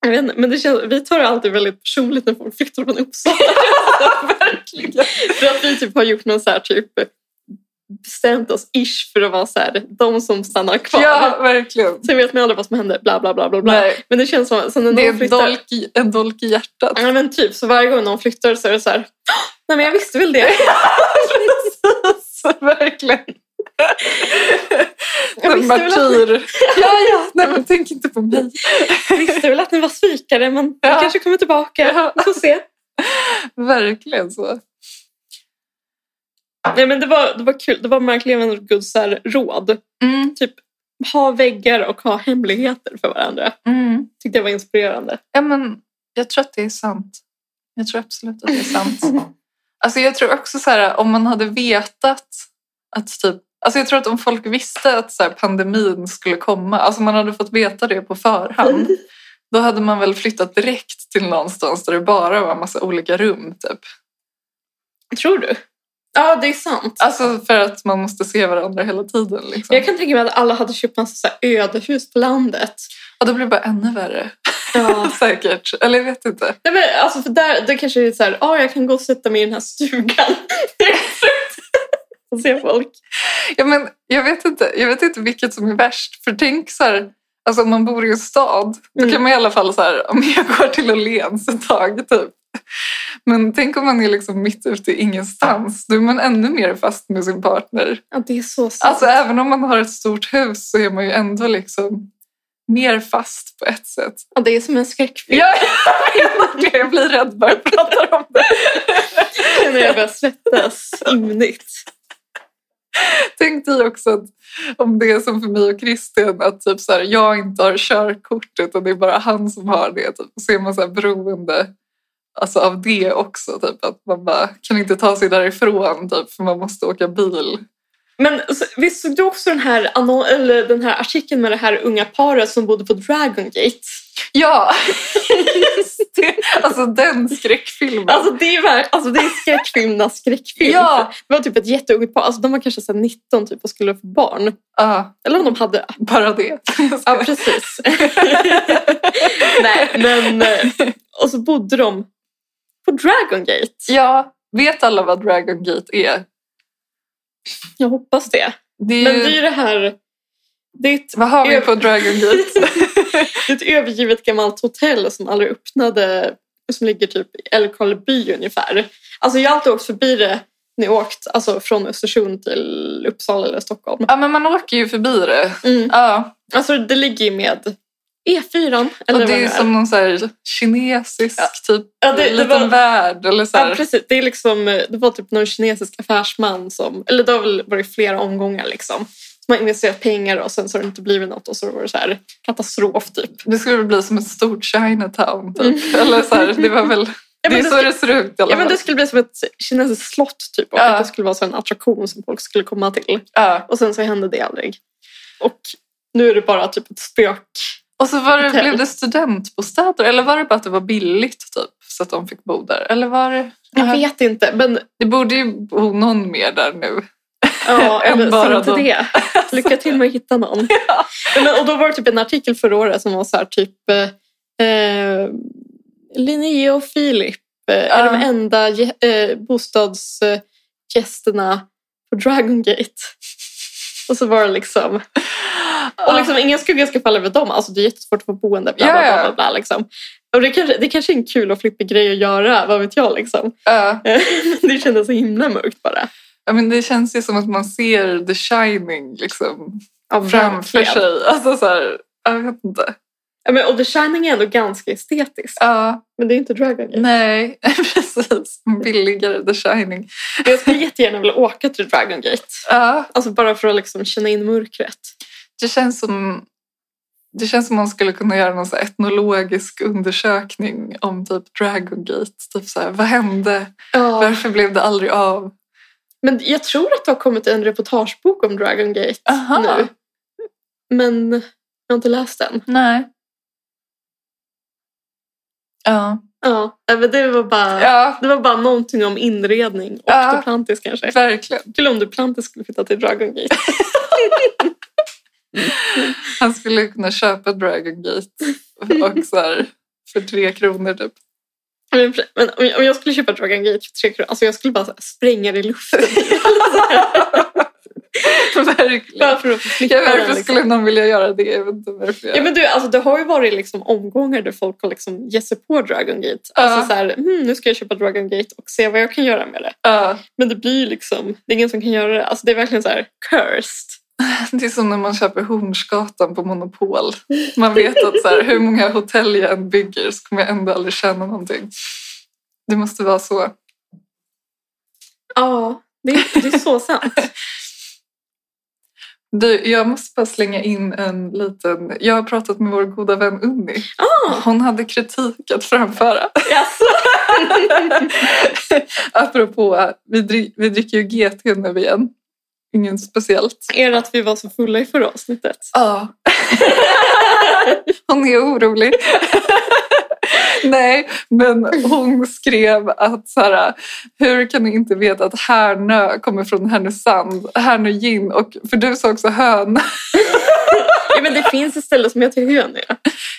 [SPEAKER 3] Jag vet inte, men det känns, vi tar det alltid väldigt personligt när folk flyttar från Uppsala.
[SPEAKER 2] Verkligen.
[SPEAKER 3] För att vi typ har gjort någon så här typ bestämt oss ish för att vara så här, de som stannar kvar.
[SPEAKER 2] Ja, verkligen.
[SPEAKER 3] Sen vet man aldrig vad som händer, bla bla bla bla. bla.
[SPEAKER 2] Nej,
[SPEAKER 3] Men det känns som, som när
[SPEAKER 2] det är
[SPEAKER 3] någon
[SPEAKER 2] en
[SPEAKER 3] flyttar.
[SPEAKER 2] dolk, i- en dolk i hjärtat.
[SPEAKER 3] Ja, men typ, så varje gång någon flyttar så är det så här, "Åh, nej men jag visste väl det.
[SPEAKER 2] Så verkligen.
[SPEAKER 3] Jag
[SPEAKER 2] en
[SPEAKER 3] visste väl, att,
[SPEAKER 2] martyr. Ja, ja. Nej, men tänk inte på mig.
[SPEAKER 3] jag visste väl att ni var svikare men
[SPEAKER 2] Ja.
[SPEAKER 3] jag kanske kommer tillbaka. Vi får se.
[SPEAKER 2] Verkligen så.
[SPEAKER 3] Nej men det var, det var kul, det var Mark Levengoods så här råd.
[SPEAKER 2] Mm,
[SPEAKER 3] Typ ha väggar och ha hemligheter för varandra.
[SPEAKER 2] mm.
[SPEAKER 3] Tyckte jag var inspirerande.
[SPEAKER 2] Ja, men jag tror att det är sant. Jag tror absolut att det är sant. Alltså, jag tror också så här, om man hade vetat att typ... Alltså jag tror att om folk visste att så här, pandemin skulle komma, alltså man hade fått veta det på förhand, då hade man väl flyttat direkt till någonstans där det bara var en massa olika rum. Typ.
[SPEAKER 3] Tror du? Ja, det är sant.
[SPEAKER 2] Alltså för att man måste se varandra hela tiden. Liksom.
[SPEAKER 3] Jag kan tänka mig att alla hade köpt massa så här ödehus på landet.
[SPEAKER 2] Och då blir det bara ännu värre.
[SPEAKER 3] Ja.
[SPEAKER 2] Säkert. Eller jag vet inte.
[SPEAKER 3] Nej, men, alltså, för där, det kanske är så här, ja jag kan gå och sätta mig i den här stugan. och se folk.
[SPEAKER 2] Ja, men jag, vet inte. jag vet inte vilket som är värst. För tänk så här, alltså om man bor i en stad, då kan
[SPEAKER 3] Mm.
[SPEAKER 2] man i alla fall så här, om jag går till Åhléns ett tag typ. Men tänk om man är liksom mitt ute i ingenstans, då är man ännu mer fast med sin partner.
[SPEAKER 3] Ja, det är så sant.
[SPEAKER 2] Alltså även om man har ett stort hus så är man ju ändå liksom mer fast på ett sätt.
[SPEAKER 3] ja, det är som en skräckfilm.
[SPEAKER 2] Ja, jag, menar det. jag blir rädd bara jag pratar om det.
[SPEAKER 3] när jag börjar svettas ymnigt.
[SPEAKER 2] Tänk dig också att om det är som för mig och Christian, att typ så här, jag inte har körkort utan det är bara han som har det. Typ. Så är man så här beroende alltså, av det också. Typ, att man bara kan inte ta sig därifrån typ, för man måste åka bil.
[SPEAKER 3] Men så, visst såg du också den här, annon- eller den här artikeln med det här unga paret som bodde på Dragon Gate?
[SPEAKER 2] Ja, just det. Alltså den skräckfilmen.
[SPEAKER 3] Alltså det är, verk- alltså, det är skräckfilmernas skräckfilm.
[SPEAKER 2] Ja.
[SPEAKER 3] Det var typ ett jätteungt par, alltså, de var kanske så här 19 typ, och skulle få barn.
[SPEAKER 2] ja,
[SPEAKER 3] Eller om de hade...
[SPEAKER 2] bara det.
[SPEAKER 3] Ja, precis. Nej, men... eh, Och så bodde de på Dragon Gate.
[SPEAKER 2] ja, vet alla vad Dragon Gate är?
[SPEAKER 3] Jag hoppas det.
[SPEAKER 2] det är
[SPEAKER 3] Men
[SPEAKER 2] ju,
[SPEAKER 3] det är ju det här... Det är ett,
[SPEAKER 2] Vad har vi på Dragon Gate?
[SPEAKER 3] det är ett övergivet gammalt hotell som aldrig öppnade. Som ligger typ i Älvkarleby ungefär. Alltså jag har alltid åkt förbi det när jag åkt alltså, från Östersund till Uppsala eller Stockholm.
[SPEAKER 2] ja, men man åker ju förbi det.
[SPEAKER 3] Mm.
[SPEAKER 2] Ja.
[SPEAKER 3] Alltså det ligger ju med E4. Eller
[SPEAKER 2] och
[SPEAKER 3] vad
[SPEAKER 2] det är
[SPEAKER 3] är.
[SPEAKER 2] som någon så här kinesisk typ
[SPEAKER 3] Ja, det- det
[SPEAKER 2] liten
[SPEAKER 3] var-
[SPEAKER 2] värld. Eller så här.
[SPEAKER 3] Ja, precis. Det, är liksom, eh, det var typ någon kinesisk affärsman som... Eller det har väl varit flera omgångar liksom. Som har investerat pengar och sen så har det inte blivit något och så var det så här katastrof typ.
[SPEAKER 2] det skulle väl bli som ett stort Chinatown. Typ. Eller så här, det var väl...
[SPEAKER 3] Mm. Ja,
[SPEAKER 2] det
[SPEAKER 3] men
[SPEAKER 2] är
[SPEAKER 3] det
[SPEAKER 2] så
[SPEAKER 3] skulle-
[SPEAKER 2] det ser ut i alla
[SPEAKER 3] Ja, men
[SPEAKER 2] fall.
[SPEAKER 3] det skulle bli som ett kinesiskt slott typ. Och
[SPEAKER 2] Ja.
[SPEAKER 3] att det skulle vara så en attraktion som folk skulle komma till.
[SPEAKER 2] Ja.
[SPEAKER 3] Och sen så hände det aldrig. Och nu är det bara typ ett spök.
[SPEAKER 2] Och så var det,
[SPEAKER 3] Hotell.
[SPEAKER 2] blev det studentbostäder. Eller var det bara att det var billigt typ, så att de fick bo där? Eller var det...
[SPEAKER 3] Jag
[SPEAKER 2] Ja.
[SPEAKER 3] vet inte. Men
[SPEAKER 2] Det borde ju bo någon mer där nu.
[SPEAKER 3] ja,
[SPEAKER 2] Än
[SPEAKER 3] eller,
[SPEAKER 2] bara
[SPEAKER 3] bara inte
[SPEAKER 2] dem.
[SPEAKER 3] det. Lycka till med att hitta någon. Men, och då var det typ en artikel förra året som var så här typ eh, eh, Linnea och Filip eh, är
[SPEAKER 2] Ja.
[SPEAKER 3] de enda ge- eh, bostadsgästerna på Dragon Gate. Och så var det liksom Och liksom, ingen skugga ska falla över dem. Alltså, det är jättesvårt att få boende. Bla, bla,
[SPEAKER 2] Ja, ja.
[SPEAKER 3] bla, bla, bla, liksom. och det, kanske, det kanske är en kul och flippig grej att göra, vad vet jag. Liksom.
[SPEAKER 2] Ja.
[SPEAKER 3] det kändes så himla mörkt bara.
[SPEAKER 2] Ja, men det känns ju som att man ser The Shining liksom,
[SPEAKER 3] Ja,
[SPEAKER 2] framför
[SPEAKER 3] verkligen.
[SPEAKER 2] sig. Alltså, så här, jag vet inte.
[SPEAKER 3] Ja, men, och The Shining är ändå ganska estetiskt.
[SPEAKER 2] Ja.
[SPEAKER 3] Men det är inte Dragon Gate.
[SPEAKER 2] Nej, precis. Billigare The Shining.
[SPEAKER 3] Men jag skulle jättegärna vilja åka till Dragon Gate.
[SPEAKER 2] Ja,
[SPEAKER 3] Alltså bara för att liksom känna in mörkret.
[SPEAKER 2] det känns som... Det känns som man skulle kunna göra någon så här etnologisk undersökning om typ Dragon Gate. Typ så här, vad hände?
[SPEAKER 3] Ja.
[SPEAKER 2] Varför blev det aldrig av?
[SPEAKER 3] Men jag tror att det har kommit en reportagebok om Dragon Gate
[SPEAKER 2] Aha.
[SPEAKER 3] nu. Men jag har inte läst den.
[SPEAKER 2] Nej. Ja.
[SPEAKER 3] Ja, Nej, men det var bara...
[SPEAKER 2] Ja,
[SPEAKER 3] Det var bara någonting om inredning och
[SPEAKER 2] Ja.
[SPEAKER 3] Duplantis kanske.
[SPEAKER 2] verkligen.
[SPEAKER 3] Kul om Duplantis skulle flytta till Dragon Gate.
[SPEAKER 2] Han skulle kunna köpa Dragon Gate och så här, för tre kronor typ.
[SPEAKER 3] Men, men om jag- om jag skulle köpa Dragon Gate för tre kronor, alltså jag skulle bara så här, spränga det i luften.
[SPEAKER 2] Verkligen.
[SPEAKER 3] bara för att få slippa
[SPEAKER 2] Ja,
[SPEAKER 3] den,
[SPEAKER 2] varför
[SPEAKER 3] liksom.
[SPEAKER 2] skulle någon vilja göra det? Jag vet inte varför. Jag...
[SPEAKER 3] Ja, men du, alltså, det har ju varit liksom omgångar där folk har liksom gett sig på Dragon Gate.
[SPEAKER 2] Ja.
[SPEAKER 3] Alltså, så här, hmm, nu ska jag köpa Dragon Gate och se vad jag kan göra med det.
[SPEAKER 2] Ja.
[SPEAKER 3] Men det blir ju liksom, det är ingen som kan göra det. Alltså, det är verkligen så här cursed.
[SPEAKER 2] Det är som när man köper Hornsgatan på Monopol. Man vet att så här, hur många hotell jag än bygger så kommer jag ändå aldrig tjäna någonting. Det måste vara så.
[SPEAKER 3] Ja, det är, det är så sant.
[SPEAKER 2] Du, jag måste bara slänga in en liten... Jag har pratat med vår goda vän Unni.
[SPEAKER 3] Ah.
[SPEAKER 2] Hon hade kritik att framföra.
[SPEAKER 3] Jaså?
[SPEAKER 2] Apropå, vi, drick, vi dricker ju GT nu igen. Ingen speciellt.
[SPEAKER 3] Är det att vi var så fulla i förra avsnittet?
[SPEAKER 2] Ja. hon är orolig. Nej, men hon skrev att så här, hur kan ni inte veta att Härnö kommer från Härnösand? Härnö gin, och, för du sa också hön.
[SPEAKER 3] Ja, men det finns ett ställe som heter Hönö.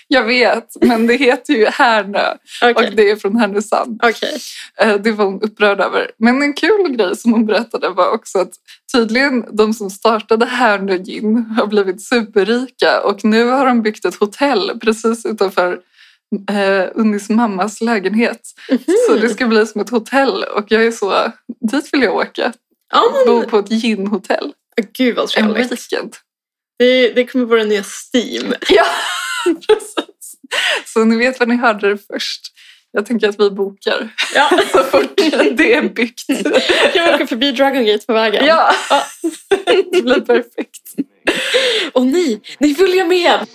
[SPEAKER 2] Jag vet, men det heter ju Härnö
[SPEAKER 3] Okej.
[SPEAKER 2] och det är från Härnösand.
[SPEAKER 3] Okej.
[SPEAKER 2] Eh, Det var hon upprörd över. Men en kul grej som hon berättade var också att tydligen de som startade Härnö gin har blivit superrika och nu har de byggt ett hotell precis utanför eh, Unnis mammas lägenhet.
[SPEAKER 3] Mhm. Mm.
[SPEAKER 2] Så det ska bli som ett hotell och jag är så, dit vill jag åka.
[SPEAKER 3] Ja, men
[SPEAKER 2] Bo på ett ginhotell
[SPEAKER 3] gud vad
[SPEAKER 2] en
[SPEAKER 3] trevligt.
[SPEAKER 2] weekend.
[SPEAKER 3] Det, det kommer vara den nya Steam.
[SPEAKER 2] Ja, precis. Så ni vet vad ni hörde det först. Jag tänker att vi bokar
[SPEAKER 3] Ja.
[SPEAKER 2] så fort det är byggt.
[SPEAKER 3] Kan vi åka förbi Dragon Gate på vägen?
[SPEAKER 2] Ja, det blir perfekt.
[SPEAKER 3] Och ni, ni följer med!